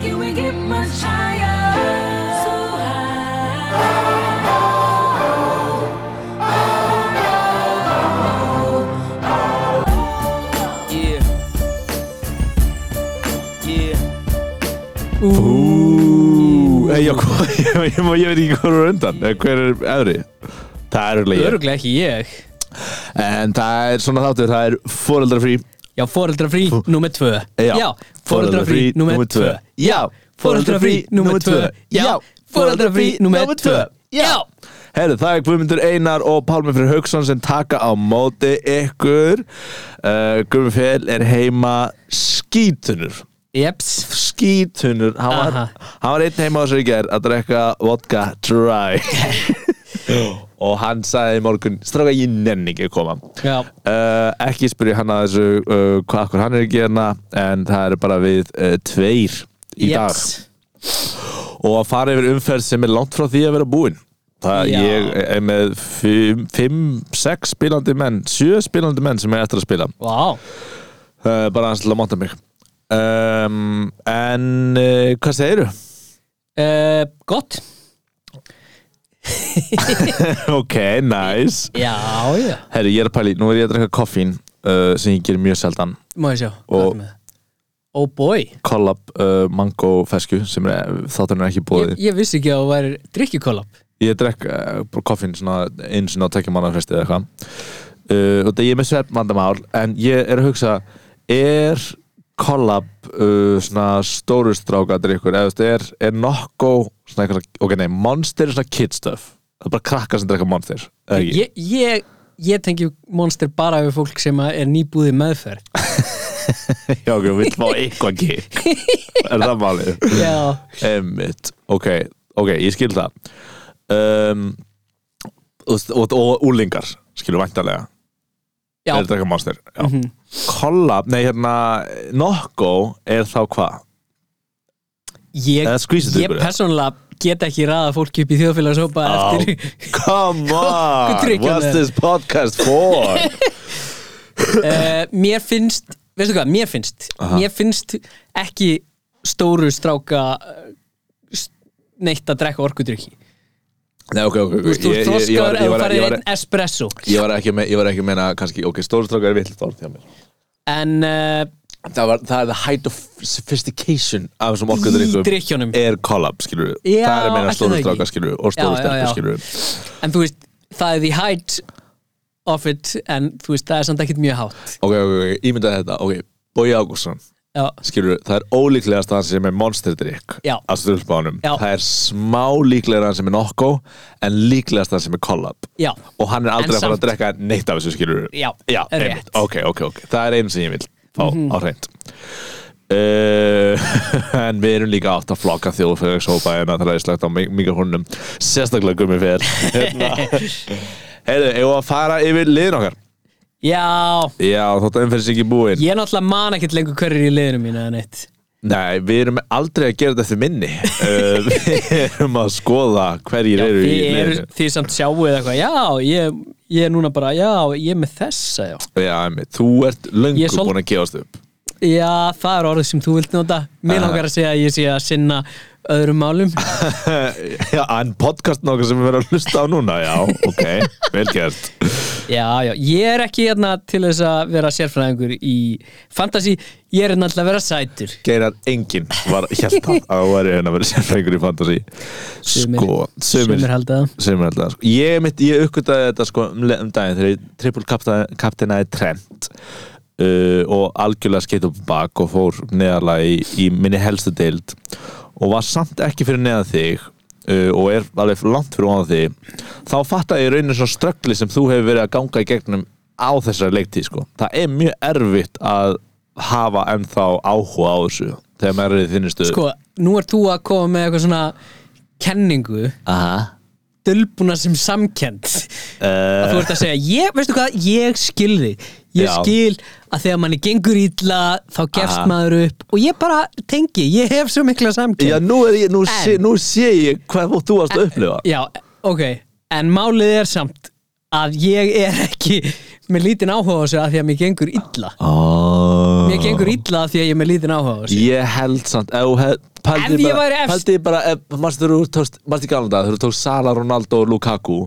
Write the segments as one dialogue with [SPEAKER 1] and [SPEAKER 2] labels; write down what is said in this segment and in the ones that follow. [SPEAKER 1] Can we get much higher? So high.
[SPEAKER 2] Yeah. Yeah.
[SPEAKER 3] Ú, eh, já, hvað, ég, ég, má- ég veit ekki hvað er á undan Eh, Hver er efri? Það er örgulega ég
[SPEAKER 4] Öruglega ekki ég
[SPEAKER 3] En það er svona þáttur, það er fóreldrafrí
[SPEAKER 4] Já, foreldrafrí nummer tvö
[SPEAKER 3] Já.
[SPEAKER 4] foreldrafrí
[SPEAKER 3] Foreldrafrí
[SPEAKER 4] nummer
[SPEAKER 3] númer tvö.
[SPEAKER 4] tvö Já, foreldrafrí nummer tvö Já, foreldrafrí nummer tvö Já
[SPEAKER 3] Herru, það er Guðmundur Einar og Pálmi Freyr Hauksson sem taka á móti ykkur uh, Guðmundur Freyr er heima skítunur
[SPEAKER 4] Jeps
[SPEAKER 3] skítunur hann
[SPEAKER 4] Aha.
[SPEAKER 3] var, hann var einn heima á þessu í gerð að drekka vodka dry og hann sagði í morgun stráka ég nenni ekki að koma
[SPEAKER 4] Já.
[SPEAKER 3] uh, ekki spyrja hann að þessu uh, hvað akkur hann er ekki hérna en það eru bara við uh, tveir í
[SPEAKER 4] Jeps
[SPEAKER 3] dag og að fara yfir umferð sem er langt frá því að vera búin það
[SPEAKER 4] Já.
[SPEAKER 3] ég er með 5-6 spilandi menn 7 spilandi menn sem er eftir að spila
[SPEAKER 4] Vá
[SPEAKER 3] uh, bara aðeins til að monta mig um, en uh, hvað segiru?
[SPEAKER 4] Eh, Gott
[SPEAKER 3] ok, nice
[SPEAKER 4] Já, já
[SPEAKER 3] herri, ég er að pæli, nú er ég að drekka koffín uh, sem ég ger mjög seldan
[SPEAKER 4] Má ég sjá
[SPEAKER 3] Og-
[SPEAKER 4] hvað er með? Oh boy
[SPEAKER 3] kollab uh, mango fesku sem er, þátturinn er ekki
[SPEAKER 4] Ég,
[SPEAKER 3] búið
[SPEAKER 4] ég vissi ekki að það væri drikkjukollab
[SPEAKER 3] ég drekk uh, bara koffín svona eins og tekja mannafresti eða eitthvað uh, og það ég er með svepp vandamál en ég er að hugsa er kollab uh, svona stóru stráka drikkur eða þú veist, er, er nokko svona eitthvað, ok nei, monster er svona kid stuff það er bara krakkar sem drekka monster eða ekki?
[SPEAKER 4] ég, ég, ég tengi monster bara við fólk sem að er nýbúði meðferð
[SPEAKER 3] já ok, við fá eitthvað kikk er það málið
[SPEAKER 4] Já
[SPEAKER 3] Emmitt, ok, ok, ég skil það um, og, og, og úlingar, skilur
[SPEAKER 4] Já,
[SPEAKER 3] væntalega
[SPEAKER 4] Mhm.
[SPEAKER 3] Er þetta eitthvað monster? Já Collab, nei hérna, Nokko er þá hvað?
[SPEAKER 4] ég,
[SPEAKER 3] Eða skvísið
[SPEAKER 4] ég
[SPEAKER 3] ykkur, eða?
[SPEAKER 4] persónulega get ekki ræða fólki upp í þjóðfélagshópa
[SPEAKER 3] Á.
[SPEAKER 4] eftir
[SPEAKER 3] Come
[SPEAKER 4] Hvað
[SPEAKER 3] on,
[SPEAKER 4] tryggja
[SPEAKER 3] what's
[SPEAKER 4] með?
[SPEAKER 3] this podcast for?
[SPEAKER 4] uh, Mér finnst, veistu hvað, mér finnst
[SPEAKER 3] Aha.
[SPEAKER 4] Mér finnst ekki stóru stráka eh, st- neitt að drekka orkudrykki
[SPEAKER 3] nei, ok, ok, ok
[SPEAKER 4] Þú veist, þú ert
[SPEAKER 3] Ég- ég- ég var-
[SPEAKER 4] þroskaður ef
[SPEAKER 3] ég
[SPEAKER 4] þú
[SPEAKER 3] var- ég
[SPEAKER 4] farið
[SPEAKER 3] var-
[SPEAKER 4] einn espresso
[SPEAKER 3] Ég var ekki með, ég var ekki að meina kannski, ok, stórustrákar er vitlega orð hjá mér
[SPEAKER 4] En uh,
[SPEAKER 3] Það, var, það er the height of sophistication af þessum okkur
[SPEAKER 4] í
[SPEAKER 3] drengjum
[SPEAKER 4] drykkjónum
[SPEAKER 3] er collab, skilur við
[SPEAKER 4] Já,
[SPEAKER 3] Það er að meina
[SPEAKER 4] ætli það
[SPEAKER 3] stóru
[SPEAKER 4] ekki.
[SPEAKER 3] strákar, skilur við og stóru
[SPEAKER 4] Já, já,
[SPEAKER 3] stelpur,
[SPEAKER 4] já.
[SPEAKER 3] skilur við
[SPEAKER 4] En þú veist, það er the height of it En þú veist, það er samt ekkert mjög hátt
[SPEAKER 3] ok, ok, ok, ímyndaði þetta ok, Bói Ágússon,
[SPEAKER 4] Já,
[SPEAKER 3] skilur það er ólíklegast hann sem er monsterdrykk
[SPEAKER 4] Já.
[SPEAKER 3] á strulbánum,
[SPEAKER 4] Já.
[SPEAKER 3] það er smá líklegur hann sem er nokko, en líklegast hann sem er collab,
[SPEAKER 4] já,
[SPEAKER 3] og hann er
[SPEAKER 4] En
[SPEAKER 3] aldrei að fara
[SPEAKER 4] samt-
[SPEAKER 3] að drekka neitt af þessu skilur
[SPEAKER 4] Já,
[SPEAKER 3] já
[SPEAKER 4] rétt. Mhm.
[SPEAKER 3] einmitt. ok, ok, ok, það er einu sem ég vil fá á hreint uh, en við erum líka átt að flokka þjóðfélagshópa en það er slagt á mikrofónum sérstaklega gummi fyrir hérna. heyrðu, ef að fara yfir liðin okkar
[SPEAKER 4] já
[SPEAKER 3] já, þótt að umferðis ekki búin
[SPEAKER 4] Ég náttúrulega man ekkert lengur hverjir í liðinu mín eða neitt
[SPEAKER 3] Nei, við erum aldrei að gera þetta eftir minni uh, Við erum að skoða hverjir
[SPEAKER 4] Já,
[SPEAKER 3] eru í
[SPEAKER 4] þið, eru,
[SPEAKER 3] liðinu
[SPEAKER 4] þið samt sjáu eða eitthvað Já, ég, ég er núna bara Já, ég er með þessa já.
[SPEAKER 3] Já, emi, þú ert löngu
[SPEAKER 4] Ég er svol-
[SPEAKER 3] búin að gefast upp
[SPEAKER 4] já, það er orðið sem þú vilt nota Mér
[SPEAKER 3] Aha.
[SPEAKER 4] langar að segja að ég sé að sinna öðrum málum
[SPEAKER 3] Já, en podcast nokkuð sem við verðum að hlusta á núna Já, ok, vel gert
[SPEAKER 4] Já, já, ég er ekki hérna til þess að vera sérfræðingur í fantasy Ég er náttúrulega að vera sætur
[SPEAKER 3] Geirar enginn var hjælt að það væri hérna að vera sérfræðingur í fantasy
[SPEAKER 4] Sumir-
[SPEAKER 3] Sko,
[SPEAKER 4] Sumir halda það
[SPEAKER 3] Sumir held að sko. Ég, mitt, ég uppgötaði þetta sko um, le- um daginn þegar ég trippul kapteinaði trend uh, og algjörlega skeitt upp á bak og fór neðarlega í, í minni helstu deild og var samt ekki fyrir neðan þig uh, og er alveg langt fyrir ofan þig þá fattaði ég rauninu svona ströggli sem þú hefur verið að ganga í gegnum á þessari leiktíð sko. Það er mjög erfitt að hafa ennþá áhuga á þessu þegar maður er í þinni stöðu
[SPEAKER 4] Sko, nú ert þú að koma með eitthvað svona kenningu
[SPEAKER 3] Aha.
[SPEAKER 4] dölbuna sem samkend
[SPEAKER 3] Eh,
[SPEAKER 4] að þú ert að segja, ég, veistu hvað ég skil þig, ég
[SPEAKER 3] Já.
[SPEAKER 4] skil að þegar manni gengur ítla þá gefst
[SPEAKER 3] Aha.
[SPEAKER 4] maður upp og ég bara tengi, ég hef svo mikla samkend
[SPEAKER 3] Já, nú, er ég, nú, sé, nú sé ég hvað þú varst að upplifa
[SPEAKER 4] Já, ok, en málið er samt að ég er ekki með lítinn áhuga á þessu að því að mér gengur illa
[SPEAKER 3] oh.
[SPEAKER 4] Mér gengur illa að því að ég er með lítinn áhuga á þessu
[SPEAKER 3] Ég held samt ef, þú hef, pældi
[SPEAKER 4] Ef ég
[SPEAKER 3] bara-
[SPEAKER 4] væri efst-
[SPEAKER 3] Pældi bara, ef- manstu þegar þú tókst Manstu í galanda, þegar þú tókst Sala, Ronaldo og Lukaku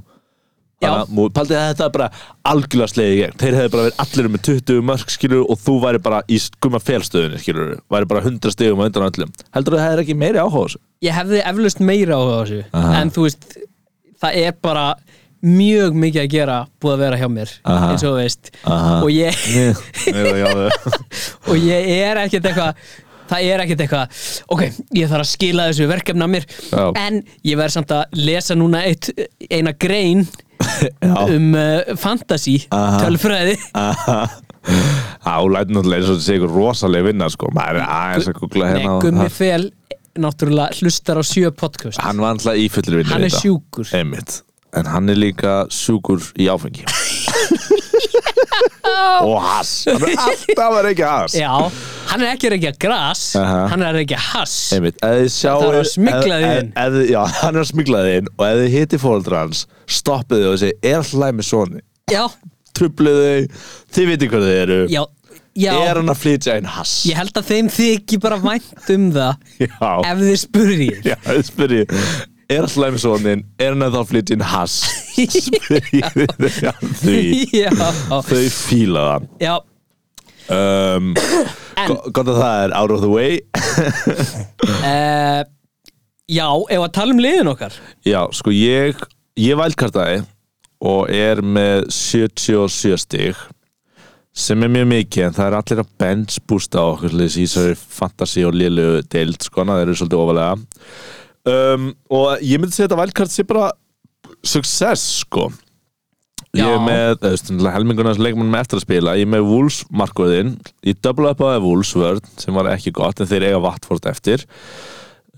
[SPEAKER 4] Já.
[SPEAKER 3] Þannig að mú- Pældi að þetta er bara algjörlega slegið í gegn Þeir hefði bara verið allir með 20 mörg skilur Og þú væri bara í skumma félstöðunni skilur Væri bara 100 stegum á undan öllum Heldur þú að það er ekki meiri áhuga á þessu?
[SPEAKER 4] Ég hefði eflaust meira áhuga á þessu
[SPEAKER 3] Aha.
[SPEAKER 4] en þú veist, það er bara mjög mikið að gera búið að vera hjá mér
[SPEAKER 3] Aha.
[SPEAKER 4] eins og þú veist
[SPEAKER 3] Aha.
[SPEAKER 4] og ég,
[SPEAKER 3] Nei, já, já.
[SPEAKER 4] og ég er ekkert eitthvað það er ekkert eitthvað, ok, ég þarf að skila þessu verkefna mér,
[SPEAKER 3] Já.
[SPEAKER 4] en ég verð samt að lesa núna eitt, eina grein
[SPEAKER 3] já.
[SPEAKER 4] um uh, fantasy
[SPEAKER 3] Aha.
[SPEAKER 4] tölfræði
[SPEAKER 3] Aha. Á, læt náttúrulega eins og þetta sé ykkur rosaleg vinna sko, maður er aðeins að googla
[SPEAKER 4] Nei,
[SPEAKER 3] hérna og-
[SPEAKER 4] Gummi Fel náttúrulega hlustar á sjö podcast
[SPEAKER 3] Hann var alltaf í fullir vinnu
[SPEAKER 4] Hann er
[SPEAKER 3] í þetta.
[SPEAKER 4] sjúkur.
[SPEAKER 3] Einmitt En hann er líka sjúkur í áfengi Og hass Hann er alltaf að reykja hass
[SPEAKER 4] Já, hann er ekki að reykja gras
[SPEAKER 3] Aha.
[SPEAKER 4] hann er að reykja hass
[SPEAKER 3] Einmitt, ef þið sjáu
[SPEAKER 4] Það er að smygla því
[SPEAKER 3] ef-
[SPEAKER 4] inn.
[SPEAKER 3] ef- ef- Já, hann er að smigla þið inn Og ef þið hitti fóreldra hans Stoppið þið og segið, er alltaf læmi soni
[SPEAKER 4] Já,
[SPEAKER 3] Trubluð þið, þið viti hvað þið eru
[SPEAKER 4] já, já
[SPEAKER 3] Er hann að flytja einn hass?
[SPEAKER 4] Ég held að þeim þykir bara vænt um það
[SPEAKER 3] Já,
[SPEAKER 4] ef þið spurði ég
[SPEAKER 3] já þið spyrjið Er alltaf læmi sonin, er hann að þá flytja inn hass? Spyrjið þið að því
[SPEAKER 4] Já,
[SPEAKER 3] Þau fíla það
[SPEAKER 4] já,
[SPEAKER 3] um,
[SPEAKER 4] En-
[SPEAKER 3] go- Gott að það er out of the way
[SPEAKER 4] uh, já ef að tala um liðin okkar
[SPEAKER 3] Já, sko ég ég vælkartaði og er með 77 stig sem er mjög mikið en það er allir að bench boosta okkur til þess í þessari fantasy og lélu deild sko, það eru svolítið ofalega um, og ég myndi segja að þetta vælkart sé bara success sko Ég er
[SPEAKER 4] Já.
[SPEAKER 3] með eh, þú veist, náttúrulega helmingunars leikmann með eftir að spila Ég er með Wolves markvöðin Ég döbla upp á Wolves vörn sem var ekki gott en þeir eiga Watford eftir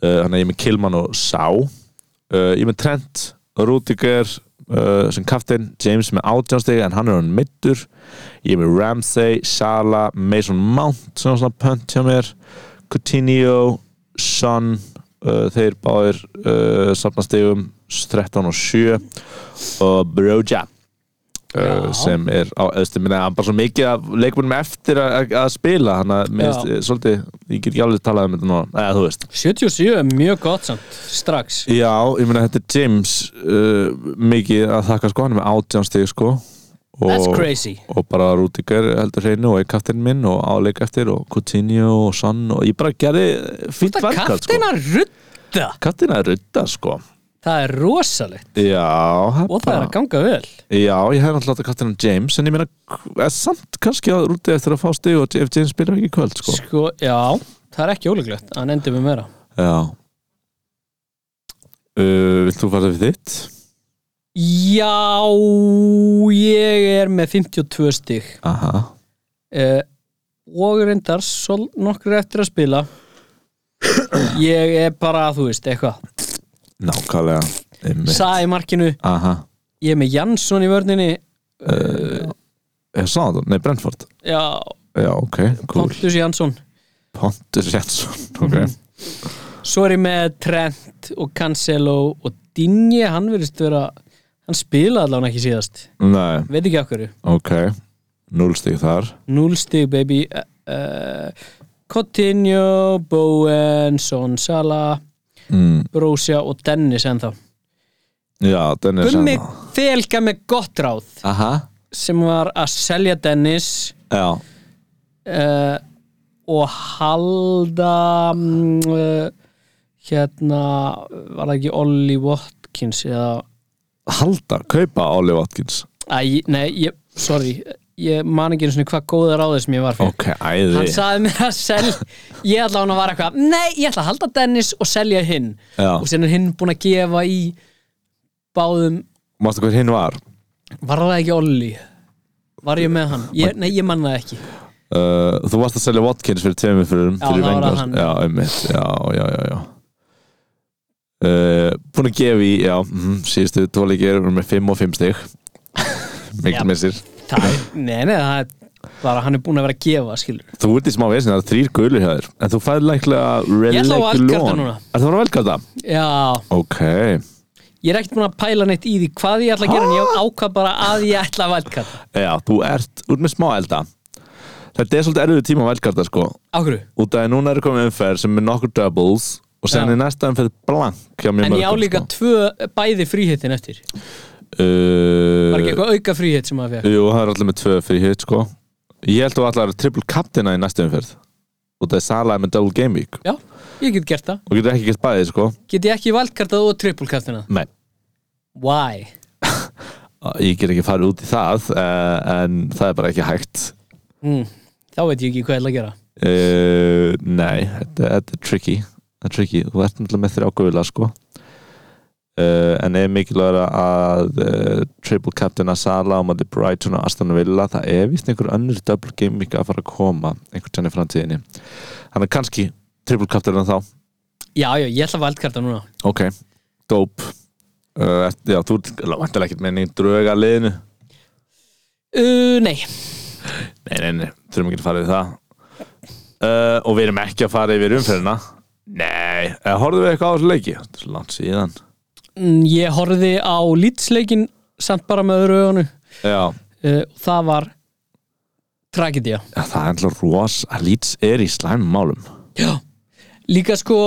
[SPEAKER 3] uh, Þannig að ég er með Kilman og Sá uh, Ég er með Trent, Rudiger uh, sem kaftin, James með átjánstegi en hann er hann middur Ég er með Ramsey, Sala, Mason Mount sem var svona pönt hjá mér Coutinho, Son uh, þeir báðir uh, safnastegum 13 og 7 og Broja uh,
[SPEAKER 4] Já.
[SPEAKER 3] sem er á öðstu minna hann bara svo mikið af leikmennum eftir að, að- að spila hann að
[SPEAKER 4] Já.
[SPEAKER 3] mér finnst, eh, svolítið ég get ekki alveg talað um þetta nú eða þú veist
[SPEAKER 4] 77 er mjög gott samt, strax
[SPEAKER 3] já, ég meina þetta er James uh, mikið að þakka sko hann er með átján stig sko
[SPEAKER 4] That's
[SPEAKER 3] og,
[SPEAKER 4] crazy
[SPEAKER 3] og bara Rúdiger heldur hreinu og er kaptinn minn og áleik eftir og Coutinho og Son og ég bara gerði fínt
[SPEAKER 4] Þetta
[SPEAKER 3] verkað sko
[SPEAKER 4] kaftin að rudda
[SPEAKER 3] kaptinn að rudda sko
[SPEAKER 4] Það er rosalegt
[SPEAKER 3] já,
[SPEAKER 4] og það er að ganga vel
[SPEAKER 3] Já, ég hefði náttúrulega láta Captain James en ég meina, eh, samt kannski að rúti eftir að fá stig og ef James spilar ekki í kvöld sko.
[SPEAKER 4] Sko, já, það er ekki óleglegt hann endur með meira
[SPEAKER 3] Já uh, Vilt þú fara við þitt?
[SPEAKER 4] Já, ég er með 52 stig
[SPEAKER 3] Aha
[SPEAKER 4] uh, og reyndar svo nokkur eftir að spila ég er bara, þú veist, eitthvað
[SPEAKER 3] Nákvæmlega Einmitt.
[SPEAKER 4] Sa í markinu,
[SPEAKER 3] Aha
[SPEAKER 4] ég er með Jansson í vörninni uh,
[SPEAKER 3] Ég sá Eh, það, nei Brentford
[SPEAKER 4] já,
[SPEAKER 3] Já, ok, cool
[SPEAKER 4] Pontus Jansson
[SPEAKER 3] Pontus Jansson, ok
[SPEAKER 4] Mhm. svo er ég með Trent og Cancelo og Dinje, hann verðist vera hann spilaði allavega ekki síðast
[SPEAKER 3] Nei,
[SPEAKER 4] veit ekki af hverju,
[SPEAKER 3] ok Núl stig þar
[SPEAKER 4] núl stig baby uh, Coutinho, Bowen Son Salah,
[SPEAKER 3] mm,
[SPEAKER 4] Brosia og Dennis ennþá
[SPEAKER 3] Já, Dennis
[SPEAKER 4] Gummi
[SPEAKER 3] hérna.
[SPEAKER 4] felga með gott ráð
[SPEAKER 3] Aha
[SPEAKER 4] sem var að selja Dennis
[SPEAKER 3] Já,
[SPEAKER 4] uh, og halda um, uh, hérna var það ekki Ollie Watkins eða
[SPEAKER 3] halda, kaupa Ollie Watkins
[SPEAKER 4] Æ, nei, ég, sorry ég man ekki einu sinni hvað góða ráðið sem ég var fyrir
[SPEAKER 3] Ok, æði
[SPEAKER 4] hann sagði mér að selja ég ætla hann að vara eitthvað, nei, ég ætla að halda Dennis og selja hinn
[SPEAKER 3] Já,
[SPEAKER 4] og sen er hinn búin að gefa í báðum,
[SPEAKER 3] mástu hver hinn var?
[SPEAKER 4] var það ekki Ollie var ég með hann, ég, nei, ég man það ekki
[SPEAKER 3] Uh, þú varst að selja Watkins fyrir tveimur fyrir,
[SPEAKER 4] Já,
[SPEAKER 3] fyrir
[SPEAKER 4] það var
[SPEAKER 3] Bengals.
[SPEAKER 4] hann.
[SPEAKER 3] já, einmitt, já, já, já, já. Uh, búin að gefa í já, mm, síðustu tóleikir erum með 5 og 5 stig
[SPEAKER 4] Já.
[SPEAKER 3] mikil missir
[SPEAKER 4] það er, nei, nei, það er bara hann er búin að vera að gefa, skilur
[SPEAKER 3] þú ert í smá vesin, það er þrýr gulur hjá þér en þú fæði læklega
[SPEAKER 4] Ég ætla á
[SPEAKER 3] relegulón
[SPEAKER 4] valkarta núna.
[SPEAKER 3] er það var velkarta?
[SPEAKER 4] já,
[SPEAKER 3] ok,
[SPEAKER 4] ég er ekkert búin að pæla neitt í því hvað ég ætla að gera en ég ákvað bara að ég ætla að valdkarta
[SPEAKER 3] Já, þú ert úr með smá elda Þetta er svolítið erfiðu tíma á velkarta sko
[SPEAKER 4] á hverju?
[SPEAKER 3] Út af því núna er komið umferð sem er nokkur doubles og sen
[SPEAKER 4] Já.
[SPEAKER 3] er næsta umferð blank hjá mjög
[SPEAKER 4] en ég á
[SPEAKER 3] mörgum,
[SPEAKER 4] líka tvö bæði fríhittin eftir
[SPEAKER 3] sko. uh,
[SPEAKER 4] var ekki eitthvað auka fríhitt sem maður fekk
[SPEAKER 3] Jú, það er allir með tvö fyrir hitt sko Ég held að allar triple captaina í næstu umferð Út af því Salah er með double game week
[SPEAKER 4] já, ég get gert það
[SPEAKER 3] og getur ekki gett bæðið sko
[SPEAKER 4] get ég ekki valdkartað og trippulkartina
[SPEAKER 3] Nei,
[SPEAKER 4] why?
[SPEAKER 3] ég get ekki farið út í það uh, en það er bara ekki hægt
[SPEAKER 4] Mm, þá veit ég ekki hvað ég ætla að gera
[SPEAKER 3] Uh, nei, þetta, þetta er tricky Það er tricky, þú ert náttúrulega með þér ágöfila sko uh, en er mikilvægur að uh, triple captain að Sala á mati Brighton og Aston Villa, það er vist einhver önnur double game week að fara að koma einhvern tjani framtíðinni þannig að kannski triple captain að þá
[SPEAKER 4] já, já, ég ætla að valdkarta núna
[SPEAKER 3] ok, dope uh, ert- já, þú ert vantilega ekkert með neinn drög að liðinu
[SPEAKER 4] uh, nei,
[SPEAKER 3] nei, nei, nei, þurfum ekki að fara yfir það uh, og við erum ekki að fara yfir umferðina nei, uh, horfðum við eitthvað á þessu leiki þetta er svo langt síðan
[SPEAKER 4] Mm, ég horfði á litsleikin samt bara með öðru augunu
[SPEAKER 3] já,
[SPEAKER 4] uh, það var tragedía
[SPEAKER 3] Já, það er alltaf ros að Leeds er í slæmum málum
[SPEAKER 4] líka sko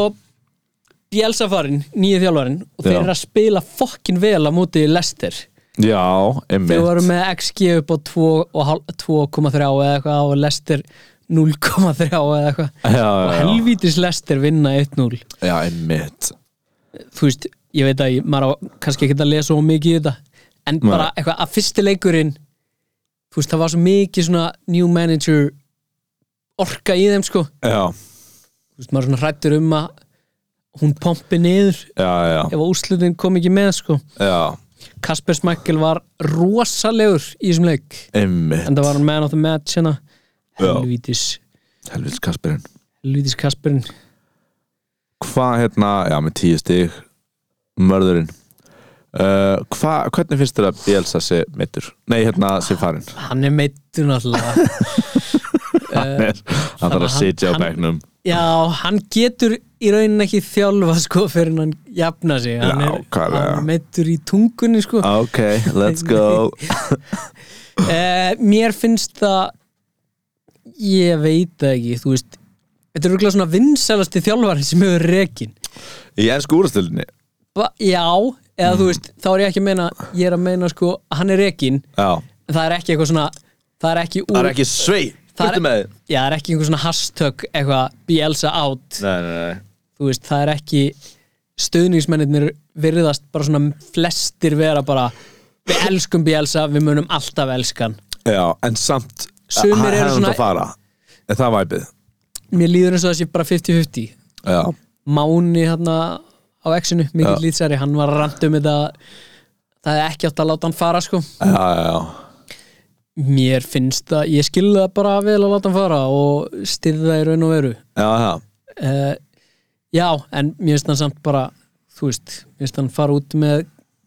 [SPEAKER 4] Bielsafarin, nýju þjálfarin og þeir
[SPEAKER 3] Já.
[SPEAKER 4] eru að spila fokkin vel á móti Lester
[SPEAKER 3] já,
[SPEAKER 4] þeir
[SPEAKER 3] einmitt
[SPEAKER 4] voru með XG upp á 2 og hál- 2,3 eða eitthvað og Lester 0,3 eða eitthvað
[SPEAKER 3] já, já,
[SPEAKER 4] og
[SPEAKER 3] já.
[SPEAKER 4] helvítis Lester vinna 1-0
[SPEAKER 3] já, einmitt
[SPEAKER 4] þú veist, ég veit að ég, maður á kannski ekki að lesa of mikið í þetta en bara eitthvað að fyrsti leikurinn þú veist, það var svo mikið svona new manager orka í þeim sko,
[SPEAKER 3] já,
[SPEAKER 4] þú veist, maður svona hrættur um að hún pompi niður
[SPEAKER 3] já, já,
[SPEAKER 4] ef að úrslutin kom ekki með sko
[SPEAKER 3] já
[SPEAKER 4] Kasper Smækkel var rosalegur í þessum leik
[SPEAKER 3] einmitt,
[SPEAKER 4] en það var hann man of the match hérna
[SPEAKER 3] Já.
[SPEAKER 4] helvítis,
[SPEAKER 3] helvits Kasperinn
[SPEAKER 4] helvítis Kasperinn
[SPEAKER 3] hvað hérna, já, með tíu stig mörðurinn uh, hva, hvernig finnst þér að Bielsa sé meittur, nei, hérna, sé farinn
[SPEAKER 4] hann er meittur náttúrulega
[SPEAKER 3] hann er, hann
[SPEAKER 4] Eh,
[SPEAKER 3] þarf að
[SPEAKER 4] hann-
[SPEAKER 3] sitja á
[SPEAKER 4] hann-
[SPEAKER 3] bekknum
[SPEAKER 4] já, hann getur í raunin ekki þjálfa sko fyrir hann jafna sig hann
[SPEAKER 3] Já,
[SPEAKER 4] er,
[SPEAKER 3] klálega.
[SPEAKER 4] hann er meittur í tungunni sko
[SPEAKER 3] ok, let's go
[SPEAKER 4] Eh, mér finnst það ég veit það ekki þú veist, þetta er rúglega svona vinsælasti þjálfarinn sem hefur rekin
[SPEAKER 3] í ennsku úrstöldinni
[SPEAKER 4] ba já, eða
[SPEAKER 3] Mm.
[SPEAKER 4] þú veist þá er ég ekki að meina, ég er að meina sko að hann er rekin,
[SPEAKER 3] já,
[SPEAKER 4] en það er ekki eitthvað svona það er ekki úr,
[SPEAKER 3] það er ekki svei
[SPEAKER 4] Það er-
[SPEAKER 3] hvernig með þið
[SPEAKER 4] já, það er ekki einhver svona hashtag eitthvað, Bielsa out
[SPEAKER 3] nei, nei, nei.
[SPEAKER 4] þú veist, það er ekki stöðningsmennir virðast bara svona flestir vera bara við elskum Bielsa, við munum alltaf elskan
[SPEAKER 3] já, en samt
[SPEAKER 4] Sumir
[SPEAKER 3] hann
[SPEAKER 4] eru
[SPEAKER 3] hefði
[SPEAKER 4] svona-
[SPEAKER 3] átt að fara er það væpið
[SPEAKER 4] mér líður eins og það sé bara 50-50
[SPEAKER 3] já,
[SPEAKER 4] Máni hérna á exinu, mikill lýtsæri, hann var að ranta um þetta það er ekki átt að láta hann fara sko
[SPEAKER 3] já, já, já.
[SPEAKER 4] mér finnst það, ég skilði það bara vel að láta hann fara og styrði það í raun og veru
[SPEAKER 3] já, já.
[SPEAKER 4] uh, já, en mér finnst hann samt bara þú veist, mér finnst hann fara út með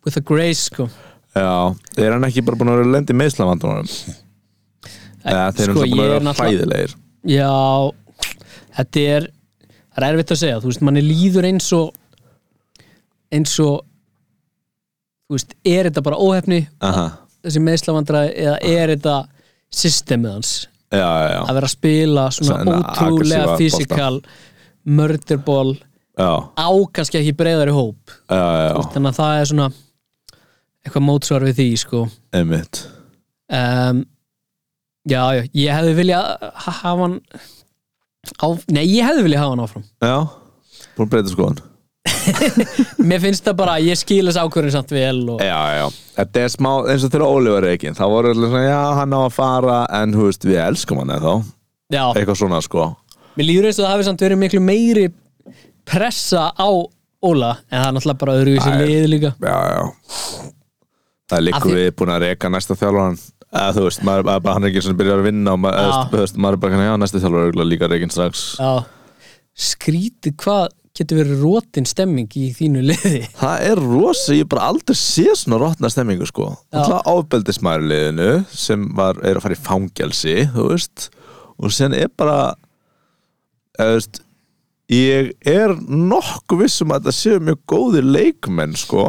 [SPEAKER 4] with a grace sko
[SPEAKER 3] Já, er hann ekki bara búin að vera lendi meðslavandunum? Eða þeir eru
[SPEAKER 4] sko,
[SPEAKER 3] sko, búin
[SPEAKER 4] ég
[SPEAKER 3] að
[SPEAKER 4] er
[SPEAKER 3] vera hlæðilegir
[SPEAKER 4] Já, þetta er það er erfitt að segja, þú veist, manni líður eins og eins og þú veist, er þetta bara óhefni
[SPEAKER 3] Aha,
[SPEAKER 4] þessi meðslavandra eða er þetta systemið hans
[SPEAKER 3] já, já, já,
[SPEAKER 4] að vera að spila svona
[SPEAKER 3] Svona aggressíva
[SPEAKER 4] ótrúlega
[SPEAKER 3] bolta.
[SPEAKER 4] fysikal mördurbol
[SPEAKER 3] já,
[SPEAKER 4] á kannski ekki breyðari hóp
[SPEAKER 3] já, já,
[SPEAKER 4] þannig að það er svona eitthvað mótsvar við því sko
[SPEAKER 3] einmitt
[SPEAKER 4] um, já, já, ég hefði viljað ha- hafa hann á, nei, ég hefði viljað hafa hann áfram
[SPEAKER 3] Já, búin að breyta skoðan
[SPEAKER 4] Mér finnst það bara, ég skilis ákvörðin samt vel og,
[SPEAKER 3] Já, já, þetta er smá eins og þegar Óli var reikinn, þá voru allir svona já, hann á að fara, en hú veist, við elskum hann eða þá,
[SPEAKER 4] já,
[SPEAKER 3] eitthvað svona sko
[SPEAKER 4] mér líður eins og það hafi samt verið miklu meiri pressa á Óla, en það er náttúrulega bara öðruvísi
[SPEAKER 3] Æ.
[SPEAKER 4] lið líka
[SPEAKER 3] Já, já Það er líka
[SPEAKER 4] Af því-
[SPEAKER 3] við búin að reika næsta þjálfaran eða þú veist, maður, maður, bara- hann er ekki sem byrjar að vinna og maður,
[SPEAKER 4] Já.
[SPEAKER 3] eða, þú veist, maður er bara kannar, já, næsta þjálfar er örugglega líka reikinn strax
[SPEAKER 4] Já, skrítið hvað getur verið rótin stemming í þínu liði
[SPEAKER 3] Það er rosa, ég hef bara aldrei séð svona rótna stemmingu sko Það ábeldismæri liðinu sem var, er að fara í fangelsi þú veist og sen er bara eða, þú veist, um ég er nokkuð vissum að það séu mjög góðir leikmenn sko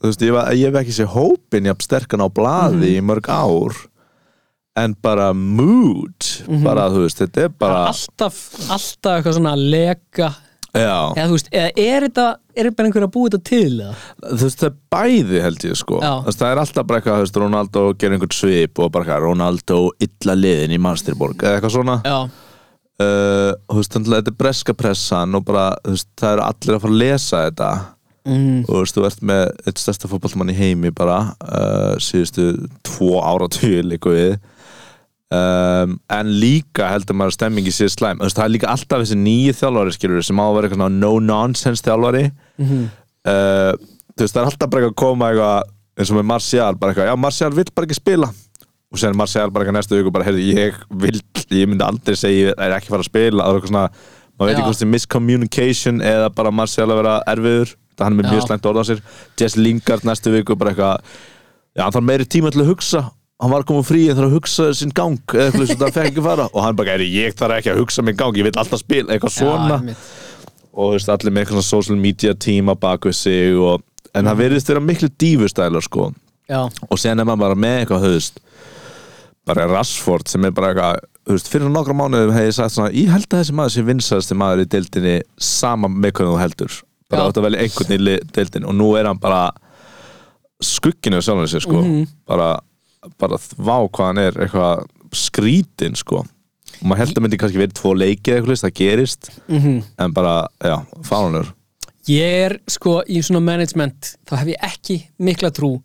[SPEAKER 3] þú veist, ég, var, ég hef ekki séð hópin jafn sterkan á blaði í mörg ár en bara mood bara, þú veist, þetta Mhm. er bara
[SPEAKER 4] Ah. alltaf, alltaf eitthvað svona leka
[SPEAKER 3] já,
[SPEAKER 4] eða þú veist, eða er þetta er bara einhver að búi þetta til eða?
[SPEAKER 3] þú veist, það er bæði held ég sko
[SPEAKER 4] Já.
[SPEAKER 3] Þú veist, það er alltaf bara eitthvað, þú veist, Ronaldo gerir einhvern svip og bara eitthvað, Ronaldo illa liðin í Mansterborg eða eitthvað svona
[SPEAKER 4] já,
[SPEAKER 3] uh, þú veist, þannig að þetta er breska pressan og bara, þú veist, það eru allir að fara að lesa þetta mm. og þú veist, þú ert með eitt stærsta fótballmann í heimi bara uh, síðustu tvo áratugir líka við um, en líka heldur maður að stemmingi sé slæm, þú veist, það er líka alltaf þessi nýju þjálfari skilur sem á að vera eitthvað svona no-nonsense þjálfari uh, þú veist, það er alltaf bara eitthvað að koma eitthvað eins og með Martial, bara eitthvað, já Martial vill bara ekki spila og sen Martial bara eitthvað næstu viku bara, heyrðu, ég vill, ég myndi aldrei segja ég er ekki fara að spila, það er eitthvað svona maður veit
[SPEAKER 4] Já.
[SPEAKER 3] ekki hvort þið miscommunication eða bara Martial að vera erfiður það hann er með
[SPEAKER 4] Já.
[SPEAKER 3] mjög slæmt orð á sér Jess Lingard næstu viku bara eitthvað já, hann þarf meiri tíma til að hugsa hann var að koma frí en þarf að hugsa sinn gang eða eitthvað sem það fekk ekki fara og hann bara, "Heyrðu, ég þarf ekki að hugsa minn gang, ég vil alltaf spila eitthvað svona
[SPEAKER 4] já, einmitt.
[SPEAKER 3] og þú veist, allir með eitthvað svona social media team að baka við sig og, en það verðist vera miklu dífustælar sko
[SPEAKER 4] já,
[SPEAKER 3] og sen er maður bara með eitthvað þú veist, bara Rashford sem er bara eitthvað, þú veist, fyrir nokkra mánuðum hef ég sagt svona, ég held að þessi maður sé vinsæðasti maður í deildinni sama með hvernig þú heldur bara
[SPEAKER 4] Já.
[SPEAKER 3] átt að velja einhvern í li- deildinni og nú er hann bara skugginu sjálfum sér sko bara, bara vá hvað hann er eitthvað skrítin sko og maður held að myndi kannski verið tvo leiki eða eitthvað leist, það gerist -hmm. en bara, já, fánunur
[SPEAKER 4] ég er sko í svona management þá hef ég ekki mikla trú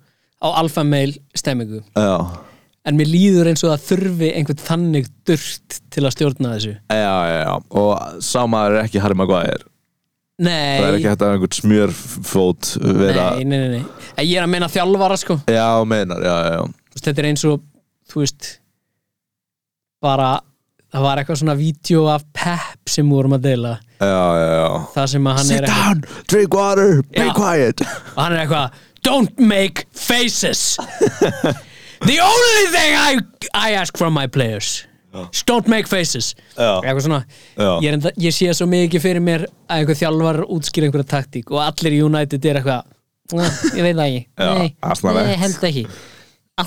[SPEAKER 4] á alfa mail stemmingu
[SPEAKER 3] já,
[SPEAKER 4] en mér líður eins og það þurfi einhvern þannig durt til að stjórna þessu
[SPEAKER 3] já, já, já og sá maður er ekki Harry Maguire
[SPEAKER 4] nei,
[SPEAKER 3] Það er ekki hægt að einhvern smjörfót vera
[SPEAKER 4] nei, nei, nei, nei. En ég er að meina þjálfara sko
[SPEAKER 3] Já, meinar, já, já, já
[SPEAKER 4] Þú veist, þetta er eins og þú veist bara, það var eitthvað svona vídeo af Pep sem við vorum að deila
[SPEAKER 3] Já, já, já
[SPEAKER 4] það sem að hann
[SPEAKER 3] Sit
[SPEAKER 4] er eitthvað,
[SPEAKER 3] down, drink water, be
[SPEAKER 4] Já.
[SPEAKER 3] quiet
[SPEAKER 4] og hann er eitthvað don't make faces the only thing I, I ask from my players is don't make faces
[SPEAKER 3] Já.
[SPEAKER 4] eitthvað svona
[SPEAKER 3] Já.
[SPEAKER 4] ég, er enda, ég sé svo mikið fyrir mér að einhver þjálfar útskýr einhverja taktík og allir í United er eitthvað "Nah, ég veit það ekki,
[SPEAKER 3] Já,
[SPEAKER 4] nei,
[SPEAKER 3] asnalegt.
[SPEAKER 4] nei, held ekki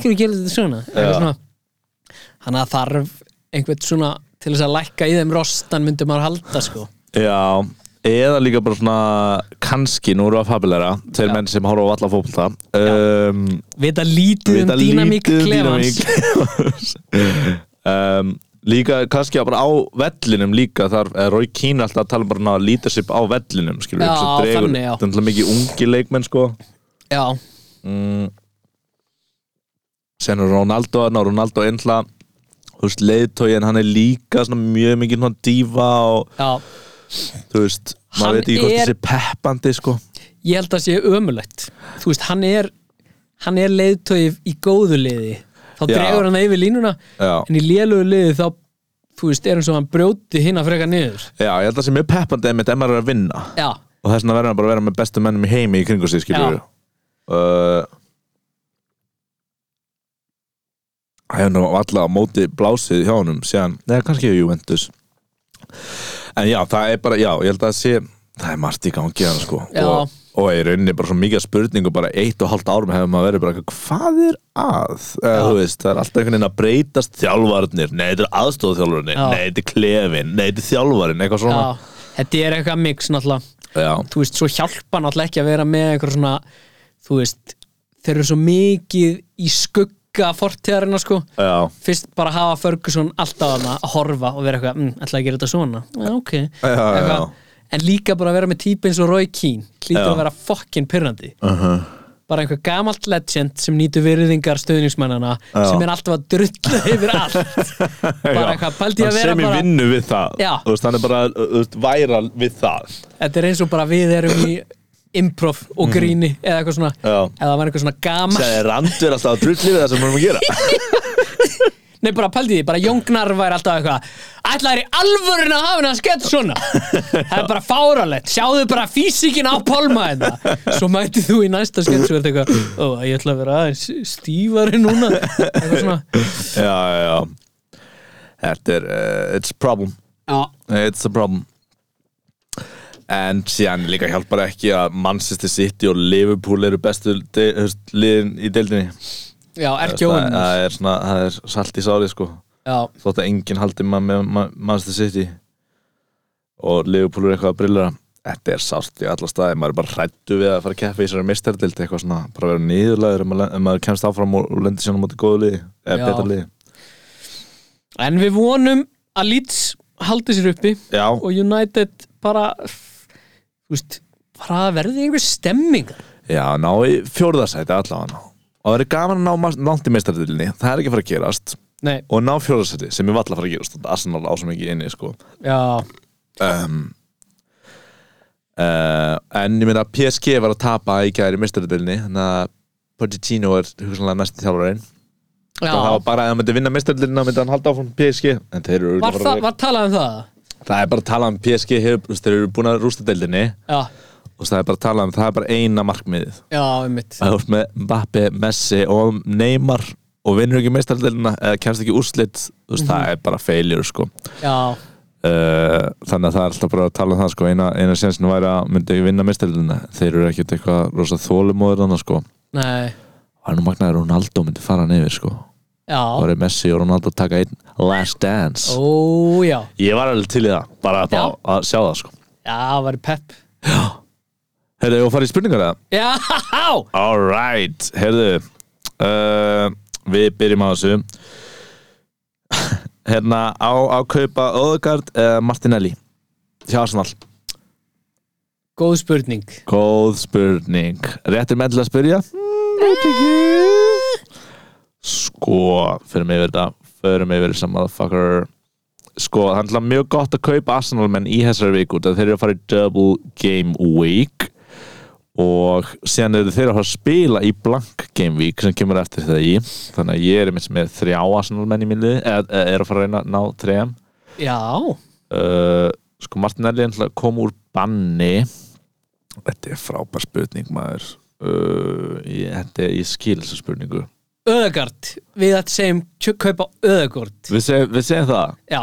[SPEAKER 4] allir gerir þetta svona
[SPEAKER 3] Já.
[SPEAKER 4] eitthvað svona þannig að þarf einhvern svona til þess að lækka í þeim rostan myndi maður halda sko
[SPEAKER 3] Já, eða líka bara svona kannski, nú eru að fabuleira til menn sem horfa á alla fótbolta um,
[SPEAKER 4] vita lítið um
[SPEAKER 3] Vita
[SPEAKER 4] dýnamík
[SPEAKER 3] lítið um
[SPEAKER 4] klefans
[SPEAKER 3] dýnamík. um, Líka, kannski bara á vellinum líka eh, þar, eða Rói Kín alltaf að tala bara um að líta sér á vellinum, skilur
[SPEAKER 4] Já,
[SPEAKER 3] svo dregur-
[SPEAKER 4] þannig, já.
[SPEAKER 3] Þetta er náttúrulega mikið ungi leikmenn, sko
[SPEAKER 4] já,
[SPEAKER 3] sen er Ronaldo hann og Ronaldo einhla þú veist, leiðtógin, hann er líka svona mjög mikið svona dífa og
[SPEAKER 4] já
[SPEAKER 3] þú veist,
[SPEAKER 4] Hann
[SPEAKER 3] maður veit ekki hvort
[SPEAKER 4] er-
[SPEAKER 3] þessi peppandi sko,
[SPEAKER 4] ég held að sé ömulegt þú veist, hann er hann er leiðtögi í góðu liði þá
[SPEAKER 3] Já.
[SPEAKER 4] dregur hann það yfir línuna
[SPEAKER 3] Já.
[SPEAKER 4] en í lélugu liði þá þú veist, er hann svo hann brjóti hinn að freka niður
[SPEAKER 3] já, ég held að það sé mjög peppandi einmitt ef maður er að vinna
[SPEAKER 4] já,
[SPEAKER 3] og þess vegna verður hann bara að vera með bestu mennum í heimi í kringu sig, skiljum
[SPEAKER 4] Já.
[SPEAKER 3] við uh, Það hefur nú alltaf á móti blásið hjá honum síðan, neða kannski hjá Juventus En já, það er bara, já, ég held að það sé það er margt í gangi hann sko
[SPEAKER 4] Já.
[SPEAKER 3] og, og í rauninni bara svo mikið af spurningu bara eitt og halvt árum hefur maður verið bara eitthvað, hvað er að? Eða, þú veist, það er alltaf einhvern veginn að breytast þjálfarnir, nei, þetta er aðstofþjálfarnir
[SPEAKER 4] Já.
[SPEAKER 3] nei, þetta er klefin, nei, þetta er þjálfarinn eitthvað
[SPEAKER 4] já,
[SPEAKER 3] svona
[SPEAKER 4] þetta er eitthvað mix náttúrulega,
[SPEAKER 3] Já.
[SPEAKER 4] þú veist, svo hjálpa náttúrulega ekki að vera með eitthvað svona þú veist, þeir eru svo mikið í skugga fortíðarina sko
[SPEAKER 3] Já.
[SPEAKER 4] fyrst bara hafa Ferguson alltaf hana að horfa og vera eitthvað, mm, ætla að gera þetta svona já, ok
[SPEAKER 3] já, já.
[SPEAKER 4] Eitthvað. en líka bara að vera með típa eins og Roy Keane hlýtur
[SPEAKER 3] Já.
[SPEAKER 4] að vera fokkin pyrrandi bara einhver gamalt legend sem nýtur virðingar stöðningsmennana
[SPEAKER 3] Já.
[SPEAKER 4] sem er alltaf að drulla yfir allt bara
[SPEAKER 3] Já.
[SPEAKER 4] eitthvað, pældi ég
[SPEAKER 3] Hann
[SPEAKER 4] að vera
[SPEAKER 3] sem
[SPEAKER 4] bara-
[SPEAKER 3] í vinnu við það
[SPEAKER 4] Já.
[SPEAKER 3] Þú veist, hann er bara þú veist, væral við það
[SPEAKER 4] þetta er eins og bara við erum í improv og gríni eða eitthvað svona,
[SPEAKER 3] Mm. Já.
[SPEAKER 4] eða það var eitthvað svona gamalt
[SPEAKER 3] Sæði randur alltaf að drulli við það sem hann er að gera
[SPEAKER 4] Nei, bara pældi því, bara Jóngnar væri alltaf eitthvað Ætlaðir í alvörinu að hafa henni að skett svona Það er bara fáralegt Sjáðu bara físikinn á pálma þetta Svo mætið þú í næsta skett Svo er þetta eitthvað, ó, ég ætla að vera aðeins stífari núna Eitthvað svona
[SPEAKER 3] Já, já, já Þetta er, uh, it's a problem
[SPEAKER 4] Já,
[SPEAKER 3] It's a problem en síðan líka hjálpar ekki að Manchester City og Liverpool eru bestu de, þú veist, liðin í deildinni
[SPEAKER 4] Já, er
[SPEAKER 3] það,
[SPEAKER 4] gjóðin
[SPEAKER 3] það er svona, það er salt í sári sko
[SPEAKER 4] Já,
[SPEAKER 3] þótt að enginn haldi maður með Ma- Manchester City og Liverpool er eitthvað að brillera þetta er sált í alla staði, maður er bara hrættu við að fara að keppa í þessari mistardildi eitthvað svona, bara vera nýðurlegur um, um maður kemst áfram og, og lendir sérna móti góðu liði eða
[SPEAKER 4] Já.
[SPEAKER 3] betra liði
[SPEAKER 4] en við vonum að Leeds haldi sér uppi
[SPEAKER 3] Já,
[SPEAKER 4] og United bara þú veist, bara verði einhver stemming
[SPEAKER 3] já ná í fjórðarsæti allavega og það er gaman að ná mas- langt í mistardildinni það er ekki að fara að gerast
[SPEAKER 4] Nei,
[SPEAKER 3] og ná fjórðarsæti sem ég valla að fara að gerast Arsenal á sem ekki inni sko
[SPEAKER 4] já,
[SPEAKER 3] um, uh, en ég meina PSG var að tapa í gæri mistaradelinni þannig að Pochettino er hugsanlega næsti þjálfarinn
[SPEAKER 4] já.
[SPEAKER 3] það var bara að hann myndi vinna mistaradelinna myndi hann halda áfram PSG en þeir eru
[SPEAKER 4] Var, það, var talað um það?
[SPEAKER 3] það er bara að tala um PSG hefur, þú veist, þeir eru búin að rústa deildinni
[SPEAKER 4] Já,
[SPEAKER 3] og það er bara að tala um það er bara eina markmiðið
[SPEAKER 4] já, einmitt
[SPEAKER 3] að þú ert með Mbappe, Messi og Neymar og vinnur ekki mistaradelinna eða kemst ekki úrslit þú veist, það er bara failure sko
[SPEAKER 4] Já,
[SPEAKER 3] Uh, þannig að það er alltaf bara að tala um það sko. eina, eina sensinu væri að myndi ekki vinna mistildina þeir eru ekkert eitthvað rosa þólumóður þannig sko,
[SPEAKER 4] nei,
[SPEAKER 3] það er nú magnaður Ronaldo myndi fara hann yfir sko það
[SPEAKER 4] já
[SPEAKER 3] eru Messi og Ronaldo að taka einn last dance
[SPEAKER 4] Ó, já,
[SPEAKER 3] ég var alveg til í það, bara að,
[SPEAKER 4] Já.
[SPEAKER 3] fá að sjá það sko
[SPEAKER 4] já, það var pepp
[SPEAKER 3] heyrðu, ég var að fara í spurningar það
[SPEAKER 4] Já,
[SPEAKER 3] alright, heyrðu uh, við byrjum á þessu hérna á að kaupa Öðgard eða Martinelli hjá Arsenal
[SPEAKER 4] góð spurning
[SPEAKER 3] Góð spurning Réttir menn til að spyrja? Sko, fyrir mig yfir þetta Fyrir mig yfir þetta motherfucker Sko, það er náttúrulega mjög gott að kaupa Arsenal menn í þessari viku þegar þeir eru að fara í double game week og síðan eru þeir að fara að spila í blank game week sem kemur eftir þetta í þannig að ég er einmitt með þrjá Arsenal menn í minni eða eða er að fara að reyna að ná þrejum
[SPEAKER 4] Já,
[SPEAKER 3] uh, sko Martinelli ennlega kom úr banni þetta er frábær spurning maður uh, ég, þetta, ég skil þessu spurningu
[SPEAKER 4] öðagard Við að segjum kjö- kaupa öðagard
[SPEAKER 3] við, seg, við segjum það
[SPEAKER 4] Já,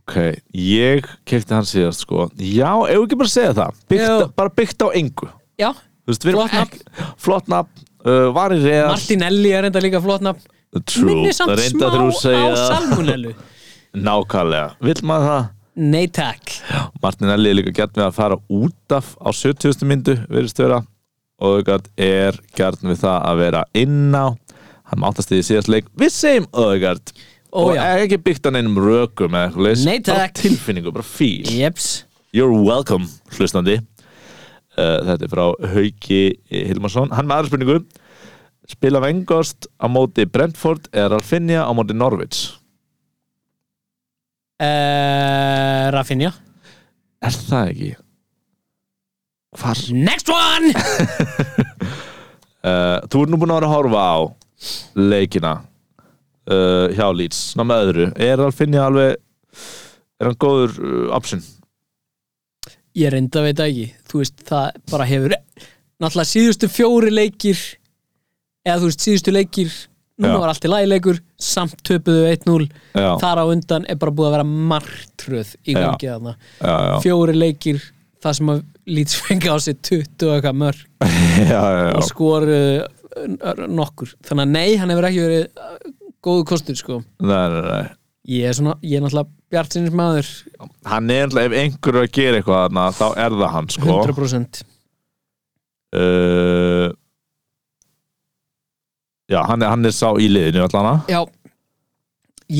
[SPEAKER 3] ok, ég kefti hann síðast sko já, ef ekki bara segja það byggt,
[SPEAKER 4] Jú.
[SPEAKER 3] bara byggt á engu
[SPEAKER 4] já,
[SPEAKER 3] Þú veist, við erum
[SPEAKER 4] Flott nafn.
[SPEAKER 3] ekki- flott nafn uh, var í reðar
[SPEAKER 4] Martinelli er enda líka flott nafn
[SPEAKER 3] true,
[SPEAKER 4] Minni samt smá á
[SPEAKER 3] reynda þegar þú segja
[SPEAKER 4] salmonellu
[SPEAKER 3] nákvæmlega, vill maður það
[SPEAKER 4] Nei, takk
[SPEAKER 3] Martin Eli er líka gert með að fara út af á 70. myndu verið vera og Ögard er gert með það að vera inn á hann máttast í síðast leik við segjum Ögard
[SPEAKER 4] Ó,
[SPEAKER 3] og
[SPEAKER 4] já.
[SPEAKER 3] ekki byggt hann einum rökum eða eitthvað leys
[SPEAKER 4] Nei,
[SPEAKER 3] bara
[SPEAKER 4] takk.
[SPEAKER 3] tilfinningu, bara fíl
[SPEAKER 4] Jeps
[SPEAKER 3] You're welcome, hlustandi uh, þetta er frá Hauki Hilmarsson, hann með aðra spurningu spila vengost á móti Brentford eða Ralfinja á móti Norwich
[SPEAKER 4] uh, Rafinha
[SPEAKER 3] er það ekki? Hvar
[SPEAKER 4] Next one
[SPEAKER 3] Uh, þú ert nú búin að vera að horfa á leikina uh, hjá Leeds, ná með öðru er Alfinja alveg er hann góður uh, option
[SPEAKER 4] Ég reynda veit það ekki Þú veist, það bara hefur Náttúrulega síðustu fjóri leikir Eða þú veist, síðustu leikir Núna
[SPEAKER 3] Já.
[SPEAKER 4] var allt í lægileikur Samt töpuðu 1-0
[SPEAKER 3] já,
[SPEAKER 4] Þar á undan er bara búið að vera martröð Í
[SPEAKER 3] Já.
[SPEAKER 4] gangi þarna
[SPEAKER 3] já, já,
[SPEAKER 4] Fjóri leikir Það sem að Leeds fengi á sig 20 og eitthvað mörg
[SPEAKER 3] já, já,
[SPEAKER 4] og
[SPEAKER 3] já.
[SPEAKER 4] skoru nokkur þannig að nei, hann hefur ekki verið uh, góðu kostur sko
[SPEAKER 3] Nei, nei, nei.
[SPEAKER 4] ég er svona, ég er náttúrulega bjartsinnis maður
[SPEAKER 3] hann er alltaf, ef einhver er að gera eitthvað þarna, þá er það hann sko
[SPEAKER 4] 100%
[SPEAKER 3] uh, já, hann er, hann er sá í liðinu allan að
[SPEAKER 4] já,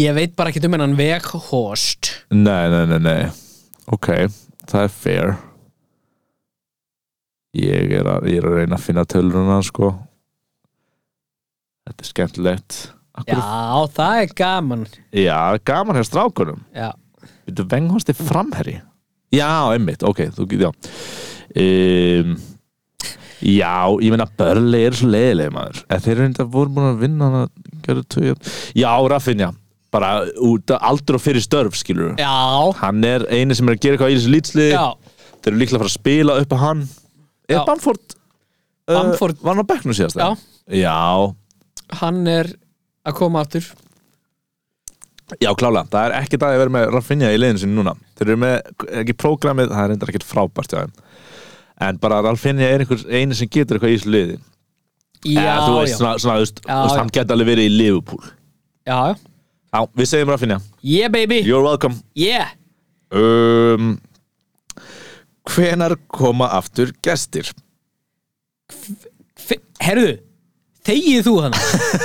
[SPEAKER 4] ég veit bara ekki um hennan veghorst
[SPEAKER 3] Nei, nei, nei, nei Ok, það er fair Ég er að, ég er að reyna að finna töluruna sko Þetta er skemmtilegt
[SPEAKER 4] já,
[SPEAKER 3] Akkur,
[SPEAKER 4] það er gaman
[SPEAKER 3] já, gaman hér strákunum
[SPEAKER 4] já,
[SPEAKER 3] Þetta venghorst er framherri Já, einmitt, ok, þú getur já um, Já, ég meina Börli er svo leiðileg maður En þeir eru þetta voru búin að vinna hana gerðu tvö jöfn. Já, Raffinja Bara út að aldur og fyrir störf skilur
[SPEAKER 4] já,
[SPEAKER 3] hann er eini sem er að gera eitthvað í þessu lýtsli
[SPEAKER 4] já
[SPEAKER 3] þeir eru líklega að fara að spila upp að hann er
[SPEAKER 4] Já.
[SPEAKER 3] Bamford, eh,
[SPEAKER 4] Bamford.
[SPEAKER 3] var hann á bekknum síðast
[SPEAKER 4] Já.
[SPEAKER 3] já,
[SPEAKER 4] hann er að koma aftur
[SPEAKER 3] Já, klála, það er ekki dag að vera með Rafinha í leiðinu sinni núna Þeir eru með, ekki prógramið, það er reyndar ekkert frábært hjá þeim En bara Rafinha er einhver einu sem getur eitthvað í þessu liði
[SPEAKER 4] Já,
[SPEAKER 3] Eða, Þú veist,
[SPEAKER 4] já.
[SPEAKER 3] svona, svona, þú veist,
[SPEAKER 4] Já,
[SPEAKER 3] þú veist,
[SPEAKER 4] já.
[SPEAKER 3] hann getur alveg verið í Liverpool
[SPEAKER 4] já, já
[SPEAKER 3] Já, við segjum Rafinha,
[SPEAKER 4] Yeah baby,
[SPEAKER 3] you're welcome
[SPEAKER 4] yeah
[SPEAKER 3] um, Hvenar koma aftur gestir?
[SPEAKER 4] F Herðu, þegið þú hann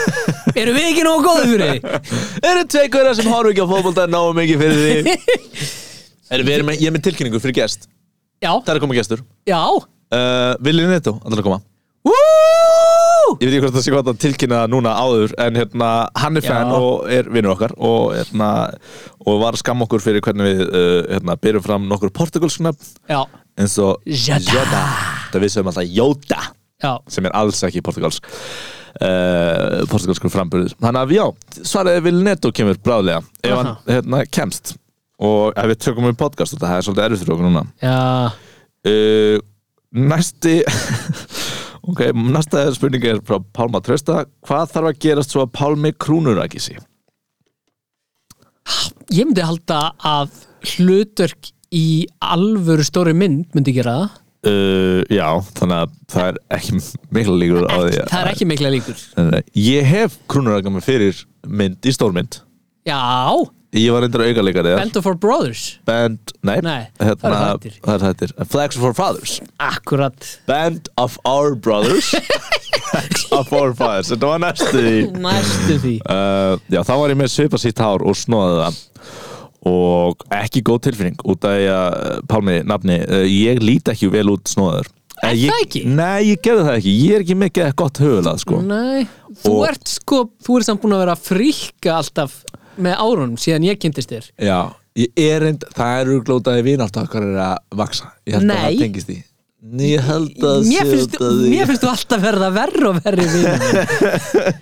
[SPEAKER 4] Erum við ekki nógu góðið fyrir því?
[SPEAKER 3] Eru teikuðra sem horfum ekki á fótbolta náum mikið fyrir því? Erum við, erum með, ég er með tilkynningu fyrir gest
[SPEAKER 4] Já,
[SPEAKER 3] Það er að koma gestur
[SPEAKER 4] já
[SPEAKER 3] uh, Vilja Neto, allir að koma
[SPEAKER 4] Woo!
[SPEAKER 3] ég veit ekki hvort það sé gott að tilkynna það núna áður en hérna, hann er
[SPEAKER 4] Já.
[SPEAKER 3] fan og er vinnur okkar og, hérna, og var að skamma okkur fyrir hvernig við uh, hérna, byrjum fram nokkur portugalsknöfn
[SPEAKER 4] Já,
[SPEAKER 3] eins og
[SPEAKER 4] Jota.
[SPEAKER 3] það við sem alltaf Jóta
[SPEAKER 4] já,
[SPEAKER 3] sem er alls ekki portugalsk uh, portugalskur framburður þannig að já, svaraði vil netto kemur bráðlega ef hann
[SPEAKER 4] Aha.
[SPEAKER 3] hérna, kemst og ef við tökum um podcast og það er svolítið erfið fyrir okkur núna
[SPEAKER 4] já
[SPEAKER 3] uh, næsti ok, næsta spurning er frá Pálma Trösta hvað þarf að gerast svo að Pálmi krúnur ekki sí?
[SPEAKER 4] Ég myndi halda að hlutverk í alvöru stóri mynd myndi gera það
[SPEAKER 3] Uh, já, þannig að það er ekki mikla líkur á því
[SPEAKER 4] Það er ekki mikla líkur
[SPEAKER 3] Nei, ég hef krúnuraka með fyrir mynd í stórmynd
[SPEAKER 4] Já,
[SPEAKER 3] ég var reyndar aukalegari þar.
[SPEAKER 4] Band of Four Brothers
[SPEAKER 3] Band, nei,
[SPEAKER 4] Nei,
[SPEAKER 3] hérna,
[SPEAKER 4] það eru þættir.
[SPEAKER 3] það er hættir Flags of Our Fathers
[SPEAKER 4] Akkurat
[SPEAKER 3] Band of Our Brothers Flags of Our Fathers Þetta var næstu því
[SPEAKER 4] Næstu því
[SPEAKER 3] uh, Já, þá var ég með svipa sítt hár og snóðaði það og ekki góð tilfinning út af því að uh, Pálmi, nafni, uh, ég lít ekki vel út snóður
[SPEAKER 4] Er
[SPEAKER 3] ég,
[SPEAKER 4] það ekki?
[SPEAKER 3] Nei, ég gerði það ekki, ég er ekki mikið gott höfulað sko.
[SPEAKER 4] Nei, þú
[SPEAKER 3] Og-
[SPEAKER 4] ert sko Þú ert samt búin að vera að fríkka alltaf með árunum síðan ég kynntist þér
[SPEAKER 3] Já, ég er reynd, það eru glótaði vinátt okkar er að vaksa Ég held að
[SPEAKER 4] Nei.
[SPEAKER 3] það tengist því Nei, ég held að
[SPEAKER 4] Mér
[SPEAKER 3] sé
[SPEAKER 4] finnst,
[SPEAKER 3] út af því.
[SPEAKER 4] mér finnst þú alltaf verða verri og verri við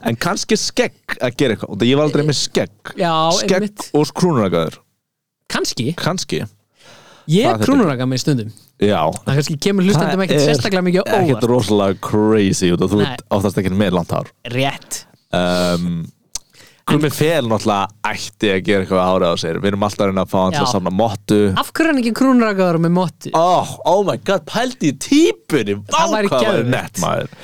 [SPEAKER 3] En kannski skegg að gera eitthvað, út af ég var aldrei með skegg
[SPEAKER 4] Já,
[SPEAKER 3] Skegg
[SPEAKER 4] einmitt.
[SPEAKER 3] og krúnurakaður,
[SPEAKER 4] Kannski,
[SPEAKER 3] kannski
[SPEAKER 4] ég
[SPEAKER 3] Hvað þetta-
[SPEAKER 4] krúnuraka með stundum
[SPEAKER 3] Já,
[SPEAKER 4] Það kannski kemur hlustandum ekkert sérstaklega mikið á
[SPEAKER 3] ekkert
[SPEAKER 4] óvart
[SPEAKER 3] rosalega crazy út og þú
[SPEAKER 4] Nei.
[SPEAKER 3] ert oftast ekkert með langt hár
[SPEAKER 4] Rétt
[SPEAKER 3] um, Krummi Fel náttúrulega ætti að gera eitthvað ára á sér við erum alltaf að reyna að fá hann til að
[SPEAKER 4] Já.
[SPEAKER 3] samna mottu
[SPEAKER 4] Af hverju er hann ekki krúnurakaður með móttu?
[SPEAKER 3] oh, oh my god, pældi í típunni Vá,
[SPEAKER 4] væri
[SPEAKER 3] hvað það væri
[SPEAKER 4] geðveikt.
[SPEAKER 3] nett maður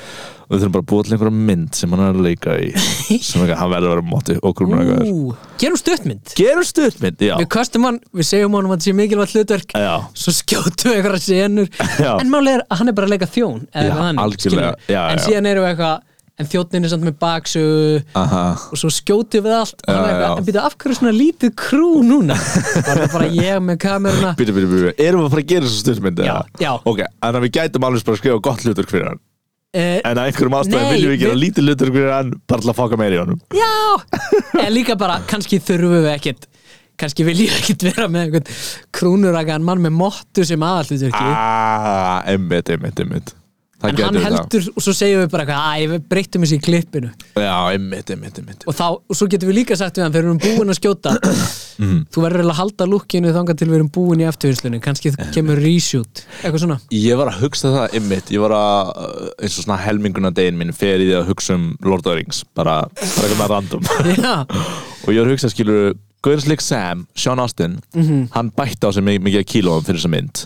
[SPEAKER 3] og við þurfum bara að búa til einhverja mynd sem hann er að leika í sem ekki, hann verður að vera mottu og krummi eitthvað
[SPEAKER 4] Ú, gerum stuttmynd
[SPEAKER 3] gerum stuðmynd, já,
[SPEAKER 4] Við köstum hann, við segjum honum að þetta sé mikilvægt hlutverk
[SPEAKER 3] já.
[SPEAKER 4] Svo skjótum við einhverja senur
[SPEAKER 3] Já.
[SPEAKER 4] En máli er að hann er bara að leika þjón eða
[SPEAKER 3] Já,
[SPEAKER 4] eitthvað þannig,
[SPEAKER 3] algjörlega.
[SPEAKER 4] skilurðu.
[SPEAKER 3] Já,
[SPEAKER 4] En
[SPEAKER 3] já.
[SPEAKER 4] síðan erum við eitthvað En þjótnin er samt með baksugu
[SPEAKER 3] Aha.
[SPEAKER 4] og svo skjótið við allt já,
[SPEAKER 3] Já, já.
[SPEAKER 4] eitthvað, en býta af hverju er svona lítið krú núna var það bara ég með kameruna
[SPEAKER 3] Bíddu, bíddu, bíddu. erum við að fara að gera þessu stuðmynd
[SPEAKER 4] Já, já.
[SPEAKER 3] ok, þannig að við gætum alveg bara að skrifa gott hlutur fyrir hann
[SPEAKER 4] uh,
[SPEAKER 3] En að einhverjum ástæðum
[SPEAKER 4] Nei,
[SPEAKER 3] viljum við gera
[SPEAKER 4] við-
[SPEAKER 3] lítið hlutur hvernig hann bara til að fokka meira í honum
[SPEAKER 4] já en líka bara, kannski þurfum við ekkert kannski vil ég ekkert vera með einhvern krúnurakaðan mann með mottu sem aðallutur ekki
[SPEAKER 3] Ah, einmitt, einmitt, einmitt Það
[SPEAKER 4] en hann
[SPEAKER 3] getur það.
[SPEAKER 4] heldur og svo segjum við bara eitthvað æ, við breytum þessi í klippinu
[SPEAKER 3] Já, einmitt, einmitt, einmitt
[SPEAKER 4] og, þá, og svo getum við líka sagt við hann þegar við erum búin að skjóta
[SPEAKER 3] Mhm.
[SPEAKER 4] þú verður eiginlega að halda lukkinu þangað til við erum búin í eftirvinslunum kannski
[SPEAKER 3] Eh,
[SPEAKER 4] kemur reshoot eitthvað svona
[SPEAKER 3] Ég var að hugsa það einmitt Ég var að, uh, eins og svona helminguna degin minn fer í því að hugsa um Lord of the Rings bara, bara eitthvað með random
[SPEAKER 4] já,
[SPEAKER 3] og ég var að hugsa, skilur Guðnslik Sam, Sean Austin
[SPEAKER 4] Mhm.
[SPEAKER 3] hann bætti á sig mikið, mikið kílóum fyrir þessa mynd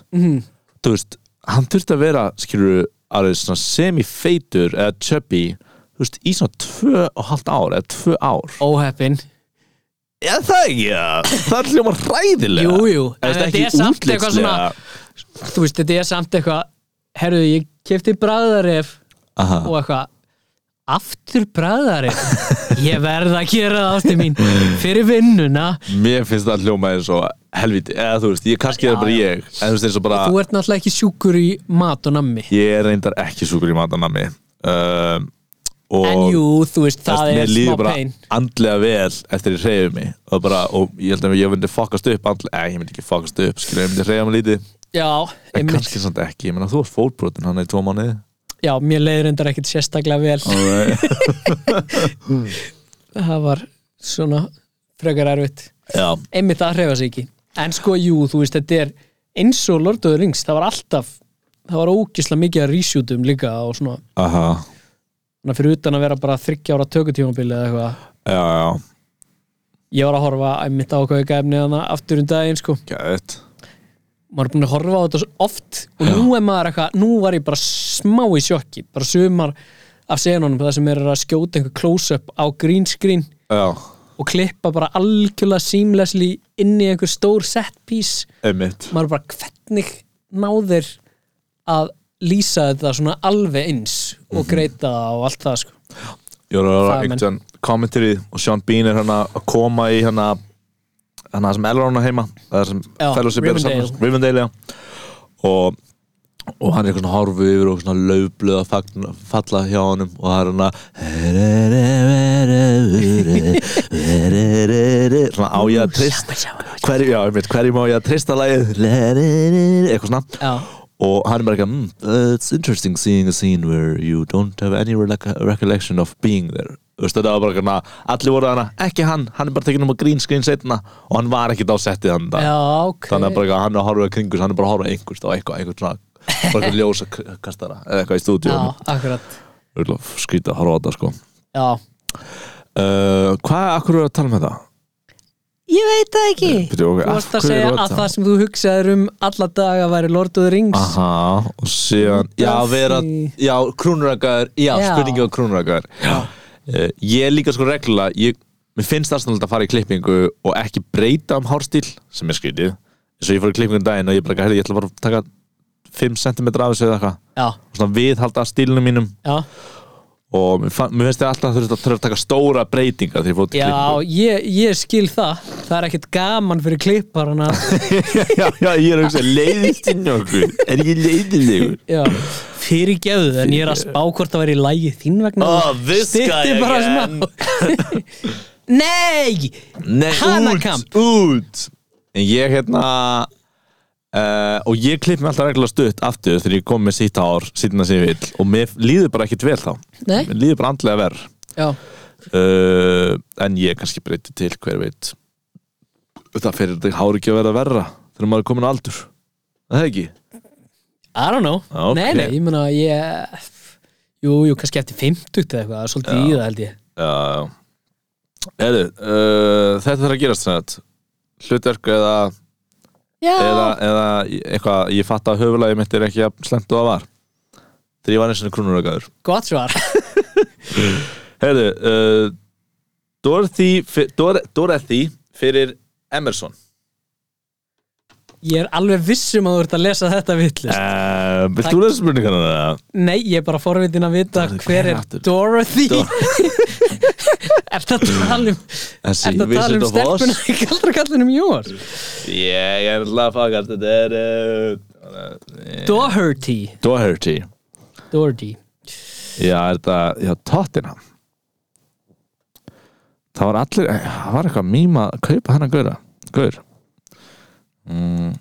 [SPEAKER 3] þú veist, hann þurfti að vera skilur, alveg svona semi-feitur eða chubby, þú veist, í svona tvö og halvt ár, eða tvö ár
[SPEAKER 4] óheppin
[SPEAKER 3] Já, það ekki, já. það er hljóma ræðilega
[SPEAKER 4] Jú, jú,
[SPEAKER 3] en
[SPEAKER 4] en
[SPEAKER 3] þetta
[SPEAKER 4] þetta
[SPEAKER 3] ekki
[SPEAKER 4] er samt eitthvað
[SPEAKER 3] útlitslega
[SPEAKER 4] svona- þú veist, þetta er samt eitthvað herruðu, ég kefti bræðaref
[SPEAKER 3] Aha.
[SPEAKER 4] og eitthvað aftur bræðaref ég verð að gera það ástu mín fyrir vinnuna
[SPEAKER 3] Mér finnst það hljóma eins og helviti eða þú veist, ég kannski er
[SPEAKER 4] Já,
[SPEAKER 3] bara
[SPEAKER 4] já.
[SPEAKER 3] ég en þú veist eins og bara,
[SPEAKER 4] þú ert náttúrulega ekki sjúkur í mat og nammi
[SPEAKER 3] ég er reyndar ekki súkur í matanami um, og
[SPEAKER 4] en jú, þú veist,
[SPEAKER 3] þú
[SPEAKER 4] það
[SPEAKER 3] veist,
[SPEAKER 4] er
[SPEAKER 3] mér líður
[SPEAKER 4] smá
[SPEAKER 3] bara
[SPEAKER 4] pein
[SPEAKER 3] andlega vel eftir ég reyfi mig og bara, og ég held að ég myndi fokast upp andlega, eh, ég myndi ekki fokast upp, skilur ég myndi reyfa mig lítið,
[SPEAKER 4] já,
[SPEAKER 3] en
[SPEAKER 4] einmitt,
[SPEAKER 3] kannski samt ekki ég meina þú er fótbrotin hann er í tvo mánuði
[SPEAKER 4] já, mér leiður endar ekkit sérstaklega
[SPEAKER 3] Ah.
[SPEAKER 4] vel það var svona frekar erfitt
[SPEAKER 3] Já,
[SPEAKER 4] einmitt að hrefa sig ekki en sko jú, þú veist, þetta er eins og Lord of the Rings, það var alltaf það var ógisla mikið að resjútum líka og svona,
[SPEAKER 3] aha,
[SPEAKER 4] svona fyrir utan að vera bara þryggja ára tökutímabili eða eitthvað
[SPEAKER 3] já, já
[SPEAKER 4] ég var að horfa einmitt á okkur efni þannig aftur um daginn sko
[SPEAKER 3] Gæðið
[SPEAKER 4] maður er búin að horfa á þetta svo oft og nú er maður eitthvað, nú var ég bara smá í sjokki, bara sumar af senunum það sem er að skjóta einhver close-up á green screen
[SPEAKER 3] Já,
[SPEAKER 4] og klippa bara algjörlega seamlessly inn í einhver stór set piece
[SPEAKER 3] einmitt
[SPEAKER 4] maður er bara hvernig náðir að lýsa þetta svona alveg eins
[SPEAKER 3] Mhm.
[SPEAKER 4] og greita það og allt það sko.
[SPEAKER 3] Ég voru að vera
[SPEAKER 4] Faðir minn.
[SPEAKER 3] einhvern kommentarið og Sean Bean er hann að koma í hann að hann að sem Elrond á heima það er sem
[SPEAKER 4] Já,
[SPEAKER 3] fellowship er að
[SPEAKER 4] Rivendale.
[SPEAKER 3] samlast- Rivendale, já og, og hann er eitthvað svona horfu yfir og svona laufblöð að fagna- falla hjá honum og það er hann að svona á ég að trist hverju, já, einmitt, hverju má ég að trista lagið eitthvað svona
[SPEAKER 4] Já,
[SPEAKER 3] og hann er bara eitthvað mm, uh, it's interesting seeing a scene where you don't have any rec- recollection of being there Þú veist, þetta var bara eitthvað, allir voru hana ekki hann, hann er bara tekinn um að green screen setna og hann var ekkert á settið hann
[SPEAKER 4] já, ok
[SPEAKER 3] þannig að bara eitthvað, hann er að horfa í kringus hann er bara að horfa einhvers á eitthvað, eitthvað svona bara eitthvað ljósa k- kastara eða eitthvað í
[SPEAKER 4] Já,
[SPEAKER 3] stúdíónu
[SPEAKER 4] akkurat
[SPEAKER 3] Örugglega skrýta að horfa á þetta sko
[SPEAKER 4] Já,
[SPEAKER 3] uh, hvað, akkur er að tala með það?
[SPEAKER 4] ég veit það ekki
[SPEAKER 3] Bíddu, ok,
[SPEAKER 4] Þú
[SPEAKER 3] af
[SPEAKER 4] varst að
[SPEAKER 3] hverju
[SPEAKER 4] segja
[SPEAKER 3] var
[SPEAKER 4] að
[SPEAKER 3] það?
[SPEAKER 4] það sem þú hugsaðir um alla daga væri Lord of the Rings
[SPEAKER 3] Ah. Aha, og síðan
[SPEAKER 4] Út
[SPEAKER 3] Já,
[SPEAKER 4] af
[SPEAKER 3] vera,
[SPEAKER 4] því.
[SPEAKER 3] já, krúnurakar Já,
[SPEAKER 4] Já.
[SPEAKER 3] spurningi á krúnurakar uh, Ég er líka sko reglulega ég, Mér finnst aðstæðanlega að fara í klippingu og ekki breyta um hárstíl sem er skrítið Svo ég fór í klippingu um daginn og ég bara, heyrðu, ég ætla bara að taka 5 cm af þessu eða eitthvað
[SPEAKER 4] Já,
[SPEAKER 3] og svona viðhalda stílnum mínum
[SPEAKER 4] já,
[SPEAKER 3] og mér, fann, mér finnst þið alltaf þurft að þurfa að taka stóra breytinga þegar ég fór til
[SPEAKER 4] já ég, ég skil það Það er ekkert gaman fyrir klippar hana
[SPEAKER 3] klippingu já, já, ég er að hugsa, leiðist inn okkur er ég leiðilegur
[SPEAKER 4] Já, fyrirgefðu en ég er að spá hvort það væri í lægi þín vegna
[SPEAKER 3] Oh, this guy
[SPEAKER 4] Stytti bara
[SPEAKER 3] again.
[SPEAKER 4] smá. Nei
[SPEAKER 3] Nei,
[SPEAKER 4] Hanakamp.
[SPEAKER 3] út, út En ég hérna uh, Og ég klipp mig alltaf reglulega stutt aftur Þegar ég kom með sítt ár, sýtna sem ég vil Og mér líður bara ekkit vel þá
[SPEAKER 4] Nei.
[SPEAKER 3] Mér líður bara andlega verð
[SPEAKER 4] Já,
[SPEAKER 3] uh, En ég kannski breyti til, hver veit Það fyrir þetta hári ekki að vera verra Þegar maður er komin á aldur Er Það ekki?
[SPEAKER 4] I don't know
[SPEAKER 3] Ok.
[SPEAKER 4] Nei, nei, ég meina ég Jú, jú, kannski eftir 50 eða eitthvað, það er svolítið í það held ég
[SPEAKER 3] Já, já Heru, uh, Þetta þarf að gerast þannig Hlutverk eða,
[SPEAKER 4] Já,
[SPEAKER 3] eða, eða eitthvað Ég fatt að höfulagi mitt er ekki að slemt og að var Þegar ég var eins og krúnurökaður
[SPEAKER 4] gott svar
[SPEAKER 3] Heyrðu, uh, Dorothy, fi- Dor Dorothy fyrir Emerson
[SPEAKER 4] Ég er alveg viss um að þú ert að lesa þetta vitlu
[SPEAKER 3] uh, Vilt þú lesa spurningana það?
[SPEAKER 4] Nei, ég er bara forvitin að vita
[SPEAKER 3] Dorothy,
[SPEAKER 4] hver
[SPEAKER 3] hver
[SPEAKER 4] er
[SPEAKER 3] aftur?
[SPEAKER 4] Dorothy
[SPEAKER 3] Dor-
[SPEAKER 4] Er það að tala um Er það að tala um stelpuna í galdra kallinum Jóar
[SPEAKER 3] Ég er alltaf fagast Þetta er uh,
[SPEAKER 4] Doherty
[SPEAKER 3] Doherty
[SPEAKER 4] Doherty
[SPEAKER 3] Já, er þetta, já, Tottenham Það var allir, eh, það var eitthvað mýma að kaupa hann að gauðra Gauður mm,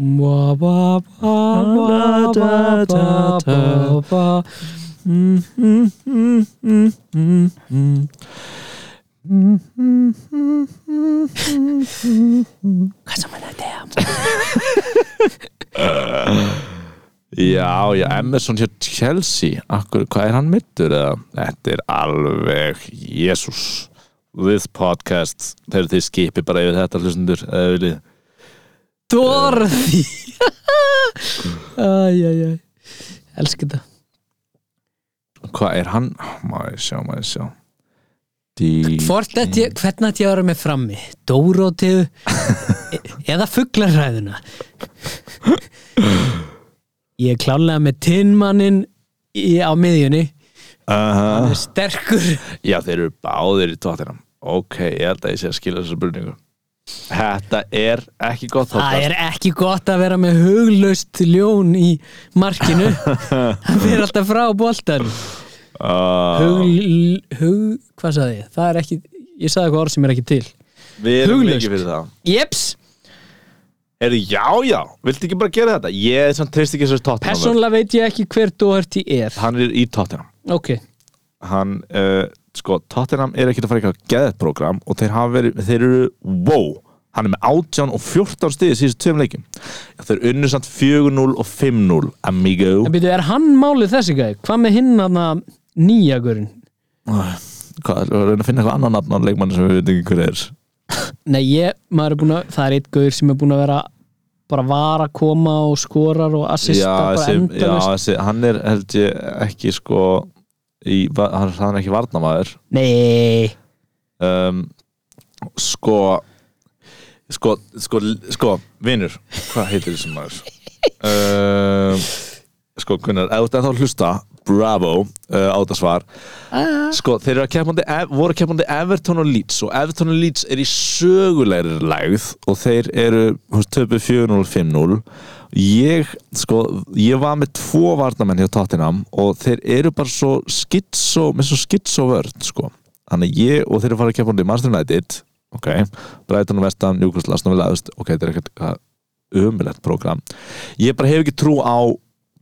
[SPEAKER 4] Ba, ba, ba, ba, ba, ba, ba, ba. Hvað sem er þetta?
[SPEAKER 3] Já, já, Emerson hjá Chelsea Akkur, hvað er hann mittur eða? Þetta er alveg Jesus, this podcast Þegar þið skipi bara yfir þetta hlustundur eða viljið.
[SPEAKER 4] Dorothy Æj, æj, æj Elsku þetta
[SPEAKER 3] Hvað er hann? Má ég sjá, má ég sjá Dí...
[SPEAKER 4] Hvort að ég, hvernig að ég var með frammi? Dórótið e- eða fugglarræðuna? Ég er klálega með tinnmannin í- á miðjunni
[SPEAKER 3] Aha.
[SPEAKER 4] Hann er sterkur
[SPEAKER 3] Já, þeir eru báðir í tóttinam Ok, ég held að ég sé að skila þessu spurningu Þetta er ekki gott
[SPEAKER 4] Það
[SPEAKER 3] podcast.
[SPEAKER 4] er ekki gott að vera með huglaust ljón í markinu Það fyrir alltaf frá boltan
[SPEAKER 3] Ah,
[SPEAKER 4] Hugl, hug, hvað sagði ég? Það er ekki, ég sagði eitthvað orð sem er ekki til
[SPEAKER 3] Við erum
[SPEAKER 4] huglaust.
[SPEAKER 3] mikið fyrir það
[SPEAKER 4] Jeps,
[SPEAKER 3] Heyrðu, já, já, viltu ekki bara gera þetta? Ég er samt treyst ekki þessu tóttinam
[SPEAKER 4] persónlega veit ég ekki hver Doherty er
[SPEAKER 3] Hann er í tóttinam
[SPEAKER 4] Ok,
[SPEAKER 3] hann, uh, sko, Tottenham er ekkert að fara eitthvað geðið program og þeir hafa verið, þeir eru, wow hann er með 18 og 14 stiði síðustu tveim leikum þeir unnu samt 4-0 og 5-0, amigo
[SPEAKER 4] en býtu, er hann málið þessi gæði? Hvað með hinn aðna nýjagurinn?
[SPEAKER 3] hvað, við erum að finna eitthvað annan nafn á leikmann sem við veitum ekki hver er
[SPEAKER 4] Nei, ég, maður er búin að það er eitt gauður sem er búin að vera bara var að koma og skorar og assista
[SPEAKER 3] já,
[SPEAKER 4] bara
[SPEAKER 3] sem, já,
[SPEAKER 4] endalaust.
[SPEAKER 3] þessi, hann er held ég ekki sko í, va- hann, hann er ekki varnamaður
[SPEAKER 4] Nei,
[SPEAKER 3] um, sko sko, sko, sko vinur, hvað heitir þessum maður um, sko Gunnar, ef þú ert ennþá að hlusta bravo, uh, á þetta svar sko, þeir eru að keppandi voru keppandi Everton og Leeds og Everton og Leeds er í sögulegri lægð og þeir eru töpu 4-0-5-0 ég, sko, ég var með tvo varnamenn hjá Tottenham og þeir eru bara svo skitsó með svo skitsó vörd, sko þannig að ég og þeir eru að fara að keppandi Master United ok, Brighton og Vestam, Newcastle Aston Villa, þú veist, ok, þetta er ekkert umilegt program, ég bara hef ekki trú á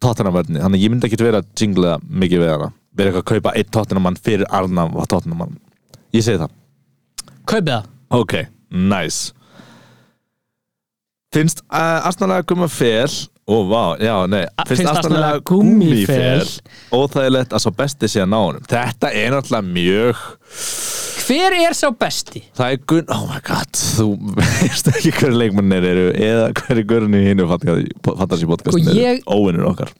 [SPEAKER 3] Tottenham-verðinni, þannig að ég myndi ekki vera að jingla mikið við hana vera eitthvað að kaupa einn Tottenham-mann fyrir Arnam og Tottenham-mann, ég segi það
[SPEAKER 4] kaupið það
[SPEAKER 3] ok, nice finnst uh, Arsenal að gumma fel ó, vá, já, nei
[SPEAKER 4] A-
[SPEAKER 3] finnst,
[SPEAKER 4] finnst
[SPEAKER 3] Arsenal
[SPEAKER 4] Arsenal
[SPEAKER 3] að
[SPEAKER 4] að
[SPEAKER 3] gummifel
[SPEAKER 4] gúmmífel?
[SPEAKER 3] óþægilegt að svo besti sé að ná honum þetta er náttúrulega mjög
[SPEAKER 4] Hver er sá besti?
[SPEAKER 3] Það er Gunn, oh my god, þú veist ekki hverju leikmennir eru eða hverju gurni hinn fantasy podcastin
[SPEAKER 4] Sko,
[SPEAKER 3] eru
[SPEAKER 4] ég-
[SPEAKER 3] óvinnur okkar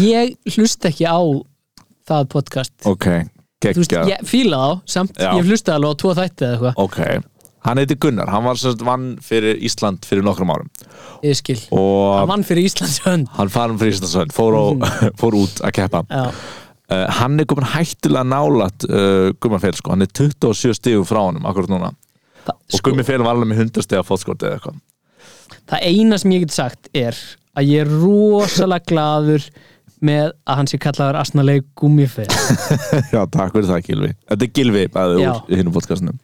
[SPEAKER 4] Ég hlusta ekki á það podcast
[SPEAKER 3] Ok,
[SPEAKER 4] Þú veist,
[SPEAKER 3] geggja
[SPEAKER 4] ég fíla þá samt,
[SPEAKER 3] Já.
[SPEAKER 4] ég hlusta alveg á tvo þætti eða eitthvað
[SPEAKER 3] Ok, hann heiti Gunnar, hann var sérst vann fyrir Ísland fyrir nokkrum árum
[SPEAKER 4] Ég skil, hann
[SPEAKER 3] og
[SPEAKER 4] vann fyrir Íslands hönd
[SPEAKER 3] hann farin fyrir Íslandsvöld, fór, á- fór út að keppa
[SPEAKER 4] Já,
[SPEAKER 3] uh, Hann er komin hættulega nálat uh, Gummafél, sko, hann er 27 stigum frá honum akkurat núna
[SPEAKER 4] það,
[SPEAKER 3] og
[SPEAKER 4] sko,
[SPEAKER 3] Gummafél var alveg með 100 stiga fótskort eða eitthvað
[SPEAKER 4] það eina sem ég get sagt er að ég er rosalega gladur með að hann sé kallaður asnaleg gummifeð
[SPEAKER 3] Já, takk fyrir það Gilvi Þetta er Gilvi bæðið
[SPEAKER 4] Já.
[SPEAKER 3] úr hinnum podcastinu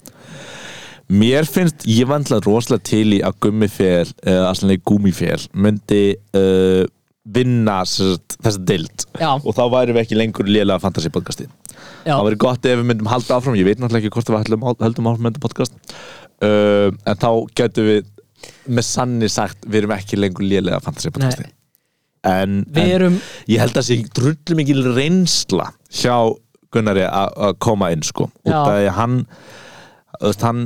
[SPEAKER 3] Mér finnst, ég var vandla rosalega til í að gummifél eða aðslanlega gúmifél myndi uh, vinna sérst, þessa dild
[SPEAKER 4] Já,
[SPEAKER 3] og þá værum við ekki lengur lélega fantasy podcasti
[SPEAKER 4] já,
[SPEAKER 3] það væri gott ef við myndum halda áfram ég veit náttúrulega ekki hvort við höldum, höldum áfram með þetta podcast uh, en þá getum við með sanni sagt við erum ekki lengur lélega fantasy podcasti
[SPEAKER 4] Nei.
[SPEAKER 3] en,
[SPEAKER 4] við
[SPEAKER 3] en
[SPEAKER 4] erum
[SPEAKER 3] ég held að sé drullu mikil reynsla hjá Gunnari a- að koma inn sko út
[SPEAKER 4] Já.
[SPEAKER 3] af því að hann, þú veist, hann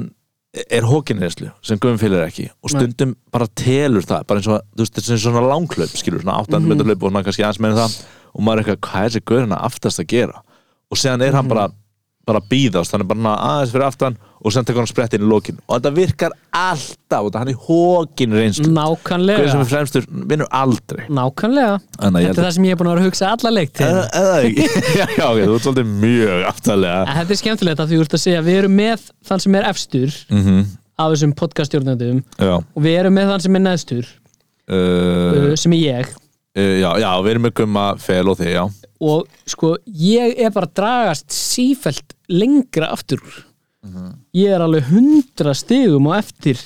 [SPEAKER 3] er hókinreynslu sem Guðum fylgir ekki
[SPEAKER 4] Nei.
[SPEAKER 3] og stundum bara telur það bara eins og, þú veist, þetta er svona langklaup skilur, svona 800 mm metur laup og svona kannski aðeins meina það og maður er eitthvað, hvað er þessi Guðurinn að aftast að gera og séðan er hann
[SPEAKER 4] Mm.
[SPEAKER 3] bara bara að býðast, hann er bara svona aðeins fyrir aftan og séðan tekur hann sprettinn í lokin og þetta virkar alltaf, út af hann er
[SPEAKER 4] Mm.
[SPEAKER 3] hókinreynslu Guður sem
[SPEAKER 4] nákvæmlega
[SPEAKER 3] er fremstur vinnur aldrei
[SPEAKER 4] Nákvæmlega,
[SPEAKER 3] Þannig að ég
[SPEAKER 4] þetta er það sem ég er búin að vera að hugsa alla leikt
[SPEAKER 3] eða, eða ekki já, já, ok, þú ert svolítið mjög aftalega
[SPEAKER 4] En þetta er skemmtilegt að því þú ert að segja við erum með þann sem er efstur
[SPEAKER 3] mm -hmm.
[SPEAKER 4] af þessum podcastjórnendum
[SPEAKER 3] já,
[SPEAKER 4] og við erum með þann sem er neðstur
[SPEAKER 3] uh,
[SPEAKER 4] uh, sem er ég
[SPEAKER 3] uh, já, já, við erum með gumma fel og þig, já
[SPEAKER 4] og sko ég er bara að dragast sífelt lengra aftur úr
[SPEAKER 3] Mhm.
[SPEAKER 4] ég er alveg hundra stigum og eftir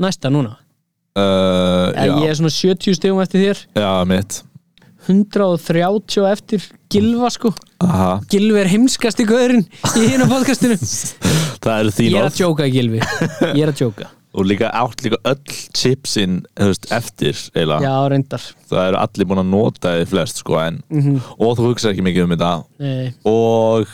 [SPEAKER 4] næsta núna
[SPEAKER 3] uh,
[SPEAKER 4] Eða
[SPEAKER 3] já,
[SPEAKER 4] ég er svona 70 stigum eftir þér
[SPEAKER 3] já, mitt
[SPEAKER 4] 130 eftir Gilva sko
[SPEAKER 3] Aha.
[SPEAKER 4] Gilvi er heimskasti gauðurinn í hinn á podcastinu
[SPEAKER 3] það eru
[SPEAKER 4] ég
[SPEAKER 3] þín
[SPEAKER 4] er
[SPEAKER 3] orð
[SPEAKER 4] að djóka Gilvi ég er að djóka
[SPEAKER 3] og líka átt líka öll chipsin þú veist, eftir, eiginlega
[SPEAKER 4] já reyndar
[SPEAKER 3] það eru allir búin að nota þið flest sko, en,
[SPEAKER 4] Mhm.
[SPEAKER 3] og þú hugsa ekki mikið um þetta
[SPEAKER 4] Nei.
[SPEAKER 3] og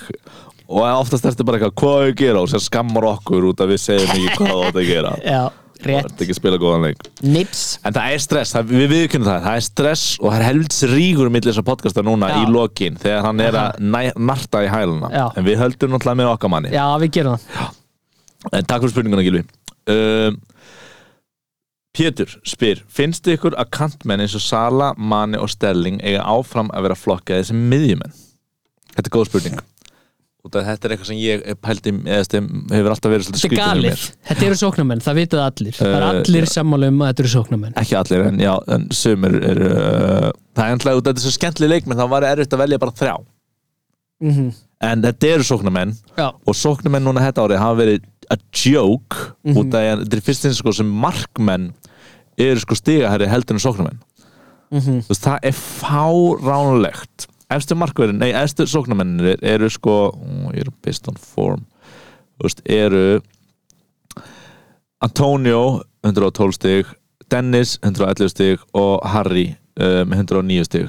[SPEAKER 3] og oftast ertu bara eitthvað hvað á ég að gera og sér skammar okkur út að við segjum ekki hvað þú átt að gera
[SPEAKER 4] já
[SPEAKER 3] og
[SPEAKER 4] rétt
[SPEAKER 3] ertu ekki að spila góðan leik
[SPEAKER 4] nips
[SPEAKER 3] En það er stress, það, við viðkynum það, það er stress og það er helvits ríkur millir þessar podcasta núna
[SPEAKER 4] Já.
[SPEAKER 3] í lokin þegar hann er að næ, narta í hæluna
[SPEAKER 4] Já.
[SPEAKER 3] en við höldum náttúrulega með okkar manni
[SPEAKER 4] já við gerum það
[SPEAKER 3] en takk fyrir spurninguna Gilvi um, Pétur spyr finnst ykkur að kantmenn eins og Sala, Mani og Sterling eiga áfram að vera flokkaði sem miðjumenn? Þetta er góð spurning og þetta er eitthvað sem ég pældi eða sem hefur alltaf verið
[SPEAKER 4] þetta er
[SPEAKER 3] svolítið skrýtið fyrir mér
[SPEAKER 4] galið þetta eru sóknarmenn það vitað allir það er
[SPEAKER 3] Eh,
[SPEAKER 4] allir sammála um að þetta eru sóknarmenn
[SPEAKER 3] ekki allir en já, en sumir er, uh, það er ennlega út af þetta er svo skemmtileg leikmenn þá var erfitt að velja bara þrjá
[SPEAKER 4] Mhm.
[SPEAKER 3] en þetta eru sóknarmenn
[SPEAKER 4] já
[SPEAKER 3] og sóknarmenn núna þetta árið hafa verið a joke út af því að þetta er fyrst eins sko sem markmenn eru sko stigahæri heldur en sóknarmenn
[SPEAKER 4] Mhm.
[SPEAKER 3] þú veist það er fáránlegt efstu markverðin, nei efstu sóknarmennir eru sko, ó, ég er based on form þú veist, eru Antonio 112 stig, Dennis 111 stig og Harry uh, með 109 stig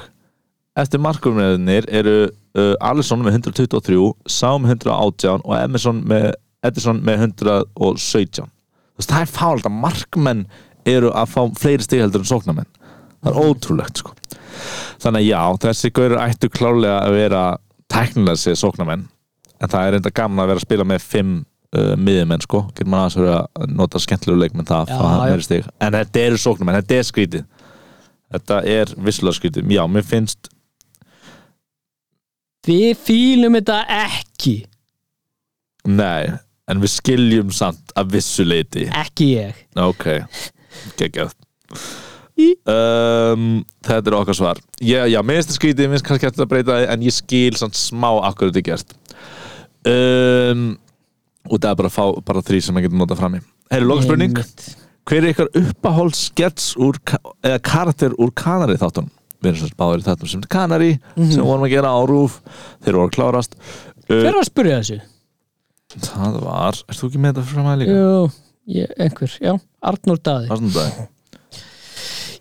[SPEAKER 3] Eftir markumræðinir eru uh, Alisson með 123, Sá með 118 og Emerson með, Edison með 117 þú veist, það er fált að markmenn eru að fá fleiri stigheldur en sóknarmenn það
[SPEAKER 4] Mhm.
[SPEAKER 3] er ótrúlegt sko þannig að já, þessi gaur ættu klálega að vera tæknilega sér sóknarmenn en það er enda gaman að vera að spila með fimm uh, miðjumenn sko, getur maður aðeins verið að nota skemmtilegu leikmenn það
[SPEAKER 4] Já,
[SPEAKER 3] að fá
[SPEAKER 4] já.
[SPEAKER 3] meiri stig en þetta eru sóknarmenn, þetta er skrítið þetta er vissulega skrítið, já, mér finnst
[SPEAKER 4] Við fýlum þetta ekki
[SPEAKER 3] nei, en við skiljum samt að vissuleiti
[SPEAKER 4] Ekki ég
[SPEAKER 3] Ok, geggjað um, Þetta er okkar svar Já, já, mér finnst það skrítið, mér finnst kannski hægt að breyta því, En ég skil samt smá akkur þetta er gert um, Og það er bara að fá bara þrý sem maður getur notað fram í Heyrðu, lokaspurning
[SPEAKER 4] Einmitt.
[SPEAKER 3] Hver er ykkar uppahóld skets úr, ka- eða karakter úr Kanari þáttunum? Við erum svo báður í þáttunum sem Kanari sem vorum að gera á Rúf þeir voru að klárast
[SPEAKER 4] Mhm. Hver
[SPEAKER 3] uh,
[SPEAKER 4] var að spyrja þessu?
[SPEAKER 3] Það var, ert þú ekki með þetta fram að líka?
[SPEAKER 4] Jú, ég, einhver, já, Arnór Daði
[SPEAKER 3] Varsnundag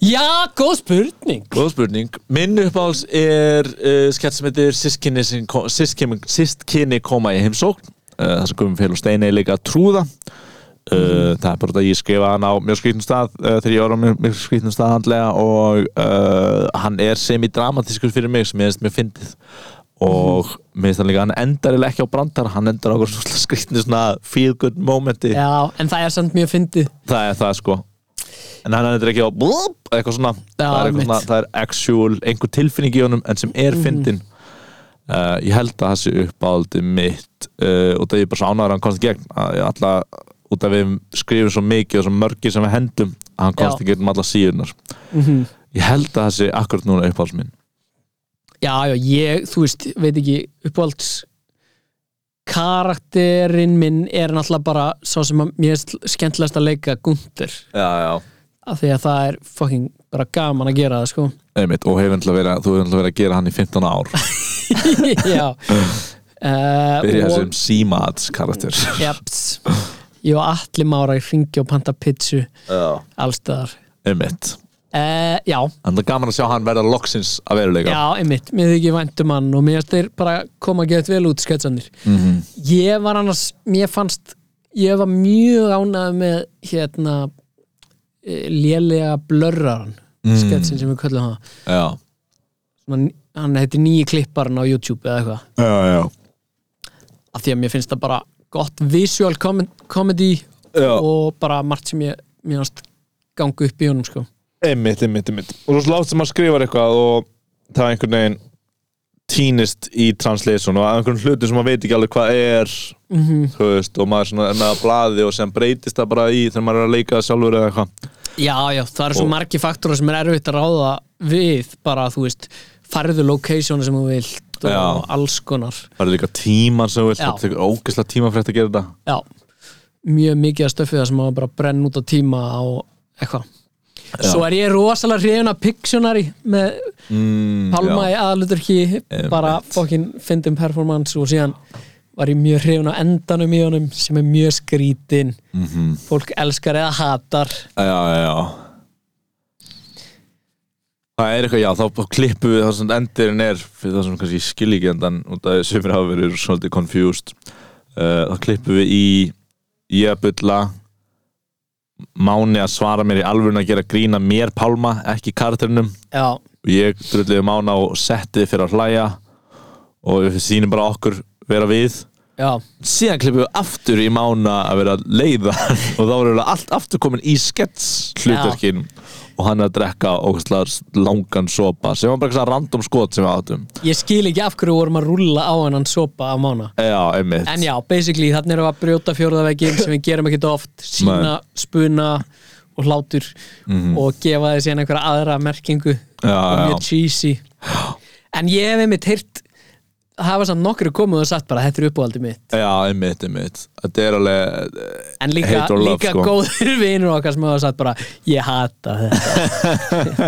[SPEAKER 4] Já, góð spurning
[SPEAKER 3] Góð spurning. Minn uppáhalds er uh, skett sem heitir Sistkinni sem kom- Sistkinni Sistkinni koma í heimsókn. Uh, það sem komum fél og steini er líka að trúða. Uh, Það er bara þetta að ég skrifa hann á mjög skrýtnum stað uh, þegar ég var á mjög, mjög skrýtnum stað handlega og uh, hann er semi-dramatískur fyrir mig sem ég finnst mjög fyndið og mér finnst hann líka, hann endar eiginlega ekki á brandar, hann endar á okkur skrýtni svona feel good momenti
[SPEAKER 4] Já, en það er samt mjög fyndið
[SPEAKER 3] það er það sko en hann er ekki á blub, eitthvað svona,
[SPEAKER 4] Já,
[SPEAKER 3] það, er eitthvað svona
[SPEAKER 4] einmitt. Mhm.
[SPEAKER 3] það er actual, einhver tilfinning í honum en sem er fyndin uh, ég held að það sé uppáldi mitt uh, og það er bara svo ánæður að hann komst í gegn að ég alla, út af við skrifum svo mikið og svo mörgir sem við hendum að hann komst
[SPEAKER 4] Já.
[SPEAKER 3] í gegn um alla síðunar
[SPEAKER 4] Mhm.
[SPEAKER 3] ég held að það sé akkurat núna uppáhalds minn
[SPEAKER 4] Já, já, ég, þú veist, veit ekki uppáhalds karakterinn minn er náttúrulega bara sá sem að mér er skemmtilegast að leika Gunther,
[SPEAKER 3] já, já
[SPEAKER 4] af því að það er fucking bara gaman að gera það, sko
[SPEAKER 3] Einmitt, og hefur náttúrulega verið, þú hefur náttúrulega verið að gera hann í 15 ár
[SPEAKER 4] Já
[SPEAKER 3] byrja
[SPEAKER 4] uh,
[SPEAKER 3] sem símaats karakter
[SPEAKER 4] Japs Ég og allir mára í ringi og panta pitsu
[SPEAKER 3] Já.
[SPEAKER 4] allstaðar
[SPEAKER 3] einmitt,
[SPEAKER 4] uh, Já,
[SPEAKER 3] en það er gaman að sjá hann verða loksins að veruleika
[SPEAKER 4] já, einmitt, mér þykir væntum hann og mér styr bara koma að geta vel út sketsanir
[SPEAKER 3] mm
[SPEAKER 4] Ég var annars, mér fannst ég var mjög ánægð með hérna eh, lélega blörraran
[SPEAKER 3] Mm.
[SPEAKER 4] sketsin sem við köllum hann
[SPEAKER 3] já.
[SPEAKER 4] hann, hann heitir nýji klipparinn á YouTube eða eitthvað,
[SPEAKER 3] Já, já.
[SPEAKER 4] af því að mér finnst það bara gott visual com comedy
[SPEAKER 3] Já.
[SPEAKER 4] og bara margt sem ég mér fannst gangu upp í honum sko
[SPEAKER 3] Einmitt, einmitt, einmitt. Og svo slátt sem maður skrifar eitthvað og það er einhvern veginn tínist í translation og að einhvern hlutum sem maður veit ekki alveg hvað er
[SPEAKER 4] Mhm.
[SPEAKER 3] þú veist, og maður svona er með að blaði og sem breytist það bara í þegar maður er að leika það sjálfur eða eitthvað.
[SPEAKER 4] Já, já, það eru svo
[SPEAKER 3] Og-
[SPEAKER 4] margi faktora sem er erfitt að ráða við bara, þú veist, farðu location sem þú vilt og
[SPEAKER 3] Já.
[SPEAKER 4] alls konar
[SPEAKER 3] Það er líka tíman sem þú vilt,
[SPEAKER 4] Já.
[SPEAKER 3] það tekur ógeðslega tíma fyrir að gera þetta.
[SPEAKER 4] Já, mjög mikið að stöfið það sem á að bara brenn út á tíma og eitthvað
[SPEAKER 3] Já.
[SPEAKER 4] Svo er ég rosalega hrifin af Pictionary með
[SPEAKER 3] Mm,
[SPEAKER 4] Palma
[SPEAKER 3] já.
[SPEAKER 4] í aðluturki bara fokkin fyndum performance og síðan var ég mjög hrifin á endanum í honum sem er mjög skrítin
[SPEAKER 3] Mhm.
[SPEAKER 4] fólk elskar eða hatar
[SPEAKER 3] já, já, já. Það er eitthvað, já, þá klippum við það sem endirinn er fyrir það sem kannski ég skil ekki endan út af því að sumir hafa verið svolítið confused uh, þá klippum við í ég að bulla Máni að svara mér í alvörun að gera grína mér Pálma, ekki karakterinum
[SPEAKER 4] Já,
[SPEAKER 3] og ég drulliði Mána og setti fyrir að hlæja og við sýnum bara okkur vera við
[SPEAKER 4] já,
[SPEAKER 3] síðan klippum við aftur í Mána að vera að leiða hann og þá erum við allt aftur komin í skets hlutverkin og hann að drekka ógeðslega langan sopa sem var bara eitthvað random skot sem við áttum
[SPEAKER 4] ég skil ekki af hverju vorum að rúlla á hennan sopa af mána
[SPEAKER 3] Já, einmitt
[SPEAKER 4] En já, basically, þannig erum við að brjóta fjórðaveggin sem við gerum ekkert oft, sína, spuna og hlátur og gefa þeir síðan einhverja aðra merkingu
[SPEAKER 3] Mhm. Já,
[SPEAKER 4] og mjög
[SPEAKER 3] já.
[SPEAKER 4] cheesy En ég hef einmitt heyrt hafa samt nokkru komið og sagt bara þetta er uppáhaldið mitt
[SPEAKER 3] Já, einmitt, einmitt Þetta er alveg
[SPEAKER 4] en líka,
[SPEAKER 3] Hate or love,
[SPEAKER 4] líka
[SPEAKER 3] sko.
[SPEAKER 4] góður vinur okkar sem hafa sagt bara ég hata þetta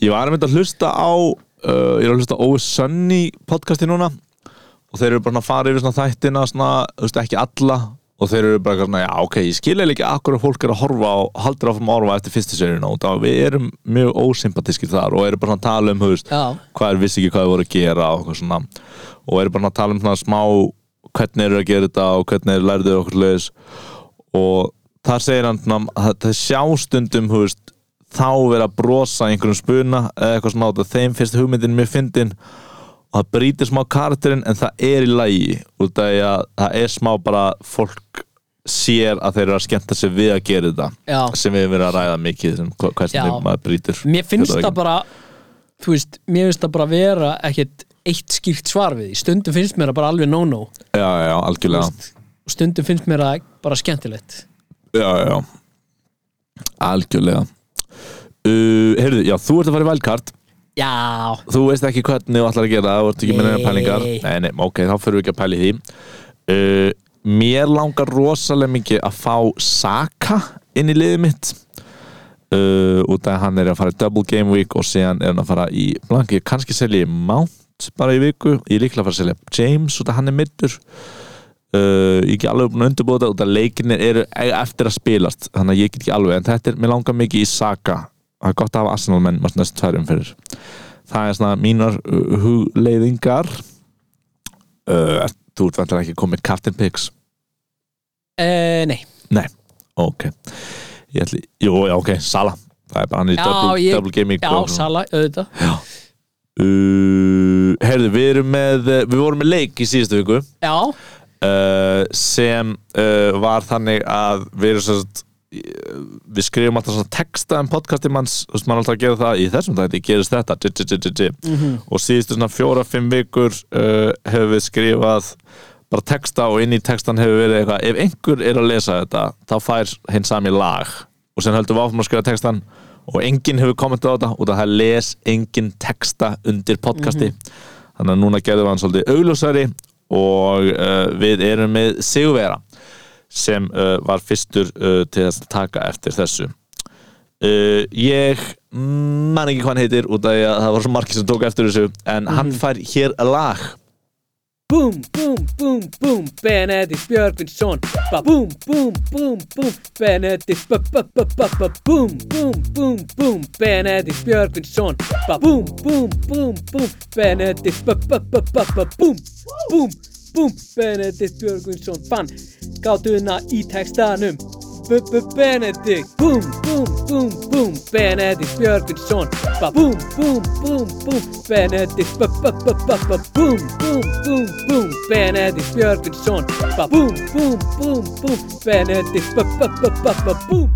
[SPEAKER 3] Ég var einmitt að hlusta á uh, Ég er að hlusta á Óvis Sunny podcasti núna og þeir eru bara að fara yfir svona þættina svona, þú veist, ekki alla og þeir eru bara eitthvað svona, já, ok, ég skil eða ekki akkur að fólk er að horfa og haldur áfram að horfa eftir fyrstu serjuna og það við erum mjög ósympatískir þar og eru bara svona að tala um, þú veist,
[SPEAKER 4] Já,
[SPEAKER 3] hvað er vissi ekki hvað þið voru að gera og eitthvað svona og eru bara að tala um svona smá hvernig eru að gera þetta og hvernig eru lærðið okkur leis og þar segir hann nam, að það sjá stundum þú veist, þá vera að brosa einhverjum spuna eða eitthvað svona á þetta þeim finnst hugmyndin mjög fyndin og það brýtir smá karakterinn en það er í lagi út af því að það er smá bara fólk sér að þeir eru að skemmta sig við að gera þetta
[SPEAKER 4] Já.
[SPEAKER 3] sem við hefum verið að ræða mikið sem hva-
[SPEAKER 4] Já.
[SPEAKER 3] hvernig maður brýtir
[SPEAKER 4] mér finnst það
[SPEAKER 3] fjöldavegginn.
[SPEAKER 4] bara þú veist, mér finnst það bara vera ekkert eitt skýrt svar við því stundum finnst mér það bara alveg no-no og
[SPEAKER 3] já, já, já, algjörlega
[SPEAKER 4] stundum finnst mér það bara skemmtilegt
[SPEAKER 3] já, já algjörlega uh, heyrðu, já, þú ert að fara í valkart
[SPEAKER 4] já,
[SPEAKER 3] þú veist ekki hvernig þú ætlar að gera það þú ert ekki með neina
[SPEAKER 4] Nei.
[SPEAKER 3] pælingar nei, nei, ok, þá fyrir við ekki að pæli því uh, mér langar rosalega mikið að fá Saka inn í liðið mitt uh, út af að hann er að fara í double game week og síðan er hann að fara í blanki, kannski selja ég Mount bara í viku, ég er líklega að fara að selja James út af að hann er middur Uh, ég er ekki alveg búin að undirbúða þetta út af leikinir eru eiga eftir að spilast þannig að ég get ekki alveg, en þetta er, mér langar mikið í Saka það er gott að hafa Arsenal menn maður næst tverjum fyrir það er svona mínar uh, hugleiðingar uh, ert- Þú ert vantilega ekki komið Captain Picks
[SPEAKER 4] uh, nei
[SPEAKER 3] Nei, ok Ég ætli, Jú, já, ok, Sala Það er bara hann er í
[SPEAKER 4] Já,
[SPEAKER 3] double,
[SPEAKER 4] ég-
[SPEAKER 3] double gaming
[SPEAKER 4] já,
[SPEAKER 3] og-
[SPEAKER 4] Sala, auðvitað
[SPEAKER 3] uh, Herðu, við erum með uh, Við vorum með leik í síðustu viku
[SPEAKER 4] já,
[SPEAKER 3] uh, sem uh, var þannig að við erum svo að við skrifum alltaf svona texta um podcasti manns, þú veist, maður er alltaf að gera það í þessum þætti, gerist þetta dj, dj, dj, dj. og síðustu svona fjóra-fimm vikur uh, hefur við skrifað bara texta og inn í textan hefur verið eitthvað, ef einhver er að lesa þetta þá fær hinn sami lag og sen höldum við áfram að skrifa textan og enginn hefur kommentað á þetta og það les enginn texta undir podcasti þannig að núna gerðum við hann svolítið augljósari og uh, við erum með Sigurvera sem uh, var fyrstur uh, til þess að taka eftir þessu uh, ég man ekki hvað hann heitir út af því að það var svo margir sem tók eftir þessu en hann fær hér lag
[SPEAKER 4] Búm, búm, búm, búm, Benedikt Björgvinsson ba, Búm, búm, búm, búm, Benedikt ba, ba, ba, ba, ba, Búm, búm, búm, búm, Benedikt Björgvinsson ba, Búm, búm, búm, búm, Benedikt ba, ba, ba, ba, ba, Búm, búm, búm, Benedikt Björgvinsson Fann gátuna í textanum B- b- Benedikt Búm, búm, búm, búm Benedikt Björgvinsson Ba- Búm, búm, búm, búm Benedikt ba- ba- ba- ba- ba- Búm, búm, búm, búm Benedikt Björgvinsson Ba- Búm, búm, búm, búm Benedikt ba- ba- ba- ba- ba- Búm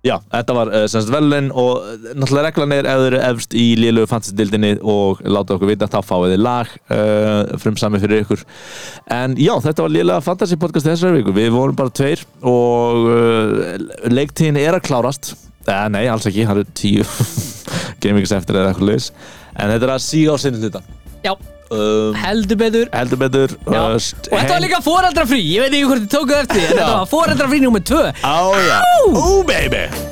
[SPEAKER 3] Já, þetta var uh, semst velin og uh, náttúrulega reglan er ef þau eru efst í liðlegu fantasy-dildinni og láta okkur vita þá fáið þið lag uh, frumsami fyrir ykkur en já, þetta var liðlega fantasy-podcast þessari viku, við vorum bara tveir og uh, leiktíðin er að klárast eh, nei, alls ekki, það eru tíu gamings eftir eða eitthvað leis en þetta er að síga á sinni hluta
[SPEAKER 4] Já,
[SPEAKER 3] um,
[SPEAKER 4] heldur betur
[SPEAKER 3] heldur betur
[SPEAKER 4] Já, og þetta var líka foreldrafrí, ég veit ekki hvort þið tókuð eftir því, en þetta var foreldrafrí nummer 2
[SPEAKER 3] Á já, ó baby